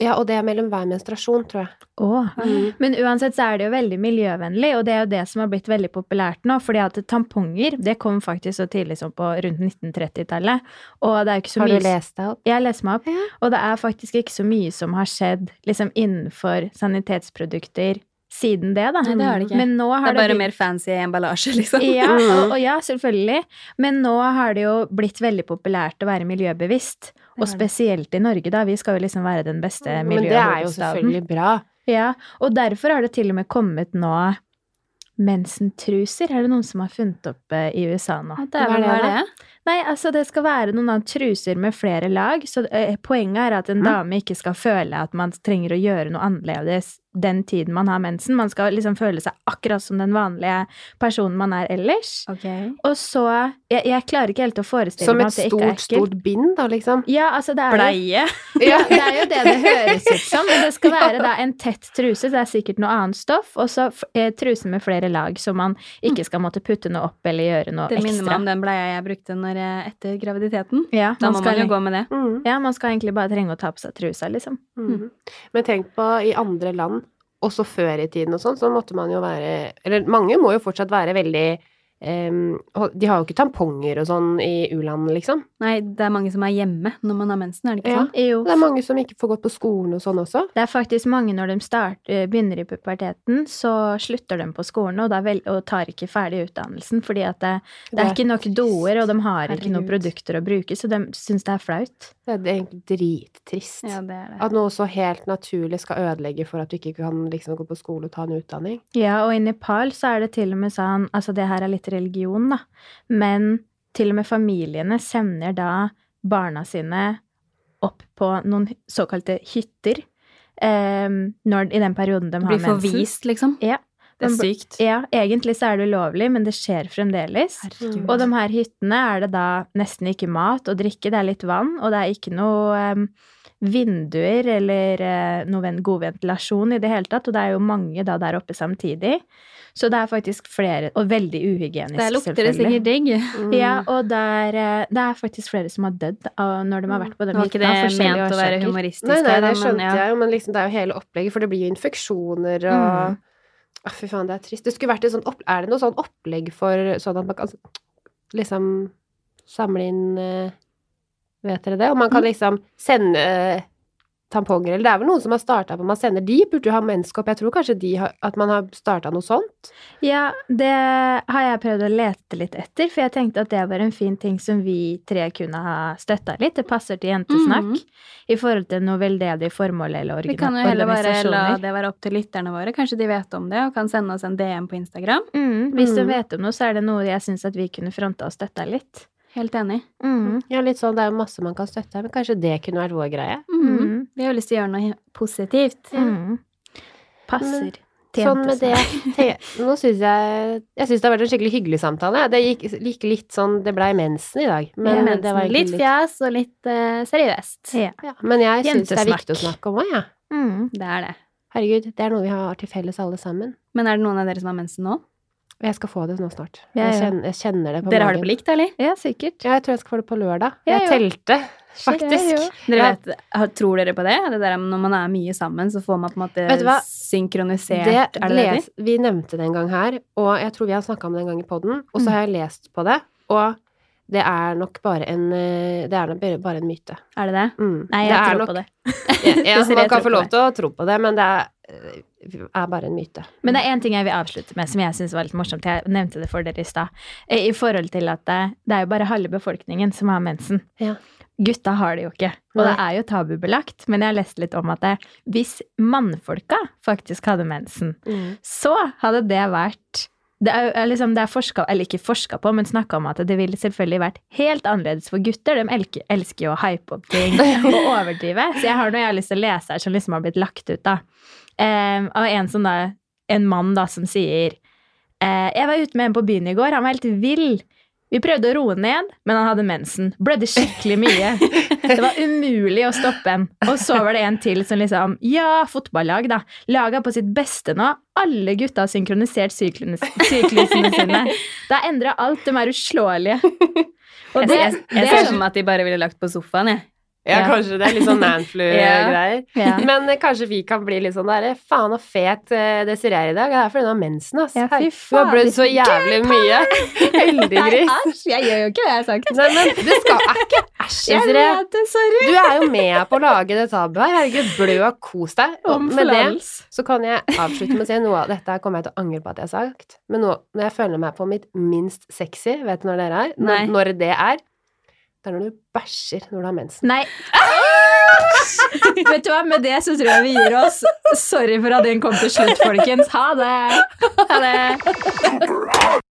B: Ja, og det er mellom hver menstruasjon, tror jeg.
D: Åh.
C: Mm.
D: Men uansett så er det jo veldig miljøvennlig, og det er jo det som har blitt veldig populært nå. fordi at tamponger det kom faktisk så tidlig som på rundt 1930-tallet. Og det er jo ikke så
B: Har
D: mye
B: du lest deg opp?
D: Jeg leser meg opp.
B: Ja.
D: Og det er faktisk ikke så mye som har skjedd liksom, innenfor sanitetsprodukter siden det, da.
C: Nei, det er det ikke.
D: Men nå
C: Det
D: har
C: er bare
D: blitt-
C: mer fancy emballasje, liksom.
D: Ja,
B: Mm.
D: og, og ja, selvfølgelig. Men nå har det jo blitt veldig populært å være miljøbevisst. Og
C: Det er det.
D: spesielt i Norge, da. Vi skal jo liksom være den beste
B: Men det er jo
D: miljøhovedstaden.
B: selvfølgelig bra.
D: Ja, og derfor har det til og med kommet nå Mensentruser er det noen som har funnet opp eh, i USA nå.
C: Ja, det er vel
B: Hva er det,
C: det.
D: Nei, altså det skal være noen av truser med flere lag, så eh, poenget er at en
B: Mm.
D: dame ikke skal føle at man trenger å gjøre noe annerledes den tiden man har mensen. Man skal liksom føle seg akkurat som den vanlige personen man er ellers. Og så Jeg, jeg klarer ikke helt å forestille
B: Som
D: meg
B: et
D: at det ikke er
B: stort,
D: ekkelt.
B: stort bind, da, liksom.
D: Ja, altså det er, jo,
C: Bleie.
D: ja, det er jo det det høres ut som, liksom. men det skal være da en tett truse. Det er sikkert noe annet stoff, og så f- eh, truse med flere lag, så man ikke skal måtte putte noe opp eller gjøre noe
C: Det minner meg
D: ekstra.
C: om den bleia jeg brukte når jeg, etter graviditeten.
D: Ja,
C: Da må man
D: skal-
C: jo gå med det.
B: Mm,
D: Ja, man skal egentlig bare trenge å ta på seg trusa, liksom.
B: mm. Men tenk på i andre land, også før i tiden og sånn, så måtte man jo være Eller mange må jo fortsatt være veldig em, hol- De har jo ikke tamponger og sånn i u-land, liksom.
C: Nei, det er mange som er hjemme når man har mensen, er det ikke
B: Ja.
C: sånn?
D: Jo.
B: Det er mange som ikke får gått på skolen og sånn også.
D: Det er faktisk mange når de start, eh, begynner i puberteten, så slutter de på skolen og, da vel, og tar ikke ferdig utdannelsen fordi at det, det er ikke nok doer, og de har ikke noen
C: Herregud.
D: produkter å bruke, så de syns det er flaut.
B: Det er egentlig drittrist.
C: Ja, det er det.
B: At noe så helt naturlig skal ødelegge for at du ikke kan liksom gå på skole og ta en utdanning.
D: Ja, og i Nepal så er det til og med sånn Altså, det her er litt religion, da, men til og med familiene sender da barna sine opp på noen såkalte hytter eh, når, i den perioden de har
C: Blir
D: mensen.
C: forvist, liksom.
D: Ja.
C: Det er
D: Men-
C: sykt.
D: Ja, egentlig så er det ulovlig, men det skjer fremdeles.
C: Herregud.
D: Og de her hyttene er det da nesten ikke mat og drikke, det er litt vann, og det er ikke noe em, vinduer eller eh, noe ven- god ventilasjon i det hele tatt, og det er jo mange da der oppe samtidig. Så det er faktisk flere, og veldig uhygienisk
C: Der lukter det
D: selvfølgelig.
C: sikkert digg.
B: Mm.
D: Ja, og der, eh, det er faktisk flere som har dødd av- når de har vært på
C: Det
D: den
C: Mm. var ikke det
D: hytta. av forskjellige
C: ment å være
D: årsaker.
C: humoristisk.
B: Nei, nei,
C: her, da,
B: det
C: men
B: skjønte
C: ja.
B: jeg jo, men liksom, det er jo hele opplegget, for det blir jo infeksjoner og
D: Mm.
B: Å, Fy faen, det er trist. Det skulle vært et sånt opp... Er det noe sånn opplegg for sånn at man kan liksom samle inn eh, Vet dere det? Og man kan
D: Mm.
B: liksom sende eh, tamponger, eller det er vel noen som har starta på Man sender de, burde jo ha menneskeopp. Jeg tror kanskje de har, at man har starta noe sånt.
D: Ja, det har jeg prøvd å lete litt etter, for jeg tenkte at det var en fin ting som vi tre kunne ha støtta litt. Det passer til jentesnakk
C: Mhm.
D: i forhold til noe veldedig formål eller
C: Vi
D: organ
C: kan jo heller bare la
D: organisasjoner.
C: det være opp til lytterne våre. Kanskje de vet om det og kan sende oss en DM på Instagram.
D: Mm, hvis du
B: Mhm.
D: vet om noe, så er det noe jeg syns at vi kunne fronta og støtta litt.
C: Helt enig.
D: Mm.
B: Ja, litt sånn, Det er jo masse man kan støtte her, men kanskje det kunne vært vår greie?
C: Mm.
D: Mm.
C: Vi har lyst til å gjøre noe positivt.
D: Mm.
C: Mm.
D: Passer. til
B: Sånn med det
D: jentesnakk.
B: te, Nå syns jeg Jeg syns det har vært en skikkelig hyggelig samtale. jeg. Det gikk, gikk litt sånn Det blei mensen i dag. Men,
C: Men
B: det var egentlig
C: litt fjas og litt eh, seriøst.
D: Ja.
B: ja, men jeg syns det er
D: Jentesnakk.
B: viktig å snakke om òg, jeg. Ja.
D: Mm.
C: Det er det.
B: Herregud, det er noe vi har til felles alle sammen.
C: Men er det noen av dere som har mensen nå?
B: Og jeg skal få det nå snart.
D: Ja,
B: Jeg,
D: ja.
B: kjenner, jeg kjenner det på
C: Dere har det på likt, eller?
D: Ja, sikkert.
B: Ja, jeg tror jeg skal få det på lørdag.
D: Ja,
B: jeg
D: ja.
B: telte,
D: Shit,
B: faktisk.
D: ja, ja.
C: Dere
B: Ja.
C: vet, har- tror dere på det? Det der om Når man er mye sammen, så får man på en
B: Vet du
C: måte
B: hva?
C: synkronisert
B: Det,
C: Er det det heter?
B: les, vi nevnte det en gang her, og jeg tror vi har snakka om det en gang i poden. Og
D: Mm.
B: så har jeg lest på det, og det er nok bare en, eh, det er nok bare- bare en myte.
C: Er det det?
B: Mm.
D: Nei,
B: det
D: jeg
B: er
D: tror
B: nok
D: på det.
B: Ja, ja,
D: Desiree
B: man
D: tror
B: kan få
D: på
B: lov
D: det.
B: til å tro på det, men det er, eh, er bare en myte.
D: Men det er én ting jeg vil avslutte med som jeg syns var litt morsomt. Jeg nevnte det for dere i stad. Eh, I forhold til at det, det er jo bare halve befolkningen som har mensen.
B: Ja.
D: Gutta har det jo ikke. Og det er jo tabubelagt. Men jeg har lest litt om at det, hvis mannfolka faktisk hadde mensen,
B: Mm.
D: så hadde det vært det er, jo- er liksom, det er forska, eller ikke forska på, men snakka om at det ville selvfølgelig vært helt annerledes for gutter. De elker, elsker jo å hype opp ting og overdrive. Så jeg har noe jeg har lyst til å lese her som liksom har blitt lagt ut, da. Eh, av en, som da, en mann da som sier eh, Jeg var ute med en på byen i går. Han var helt vill. Vi prøvde å roe ned, men han hadde mensen. Blødde skikkelig mye. Det var umulig å stoppe en. Og så var det en til som liksom Ja, fotballag, da. Laga på sitt beste nå. Alle gutta har synkronisert syklene, syklusene sine. Da endra alt. De er uslåelige. Og
C: Jeg,
D: det,
C: jeg,
D: det
C: jeg
D: er sånn-
C: ser for meg at de bare ville lagt på sofaen, jeg.
B: Ja,
D: Ja.
B: kanskje det er litt sånn Nanflu-greier.
D: ja.
B: Men eh, kanskje vi kan bli litt sånn derre faen og fet eh, Desiree er i dag. Det er fordi hun har mensen, ass.
D: Ja, fy
B: Herregud, Hun har blødd
D: fader.
B: så jævlig mye. Heldig
D: Nei,
B: gris.
D: æsj! Jeg gjør jo ikke det jeg har sagt.
B: Nei, men det skal er ikke Æsj,
D: Jeg
B: Desiree.
D: vet det, sorry.
B: Du er jo med på å lage det tabuet her. Herregud, blø og kos deg. Og
D: Om
B: med det
D: forlatelse.
B: så kan jeg avslutte med å si at noe av dette her kommer jeg til å angre på at jeg har sagt. Men nå, når jeg føler meg på mitt minst sexy, vet du når dere er?
C: Nei.
B: Når, når det er? Det er når du bæsjer når du har mensen.
D: Nei. Vet du hva, med det så tror jeg vi gir oss. Sorry for at den kom til slutt, folkens. Ha det. Ha det.
A: super hot.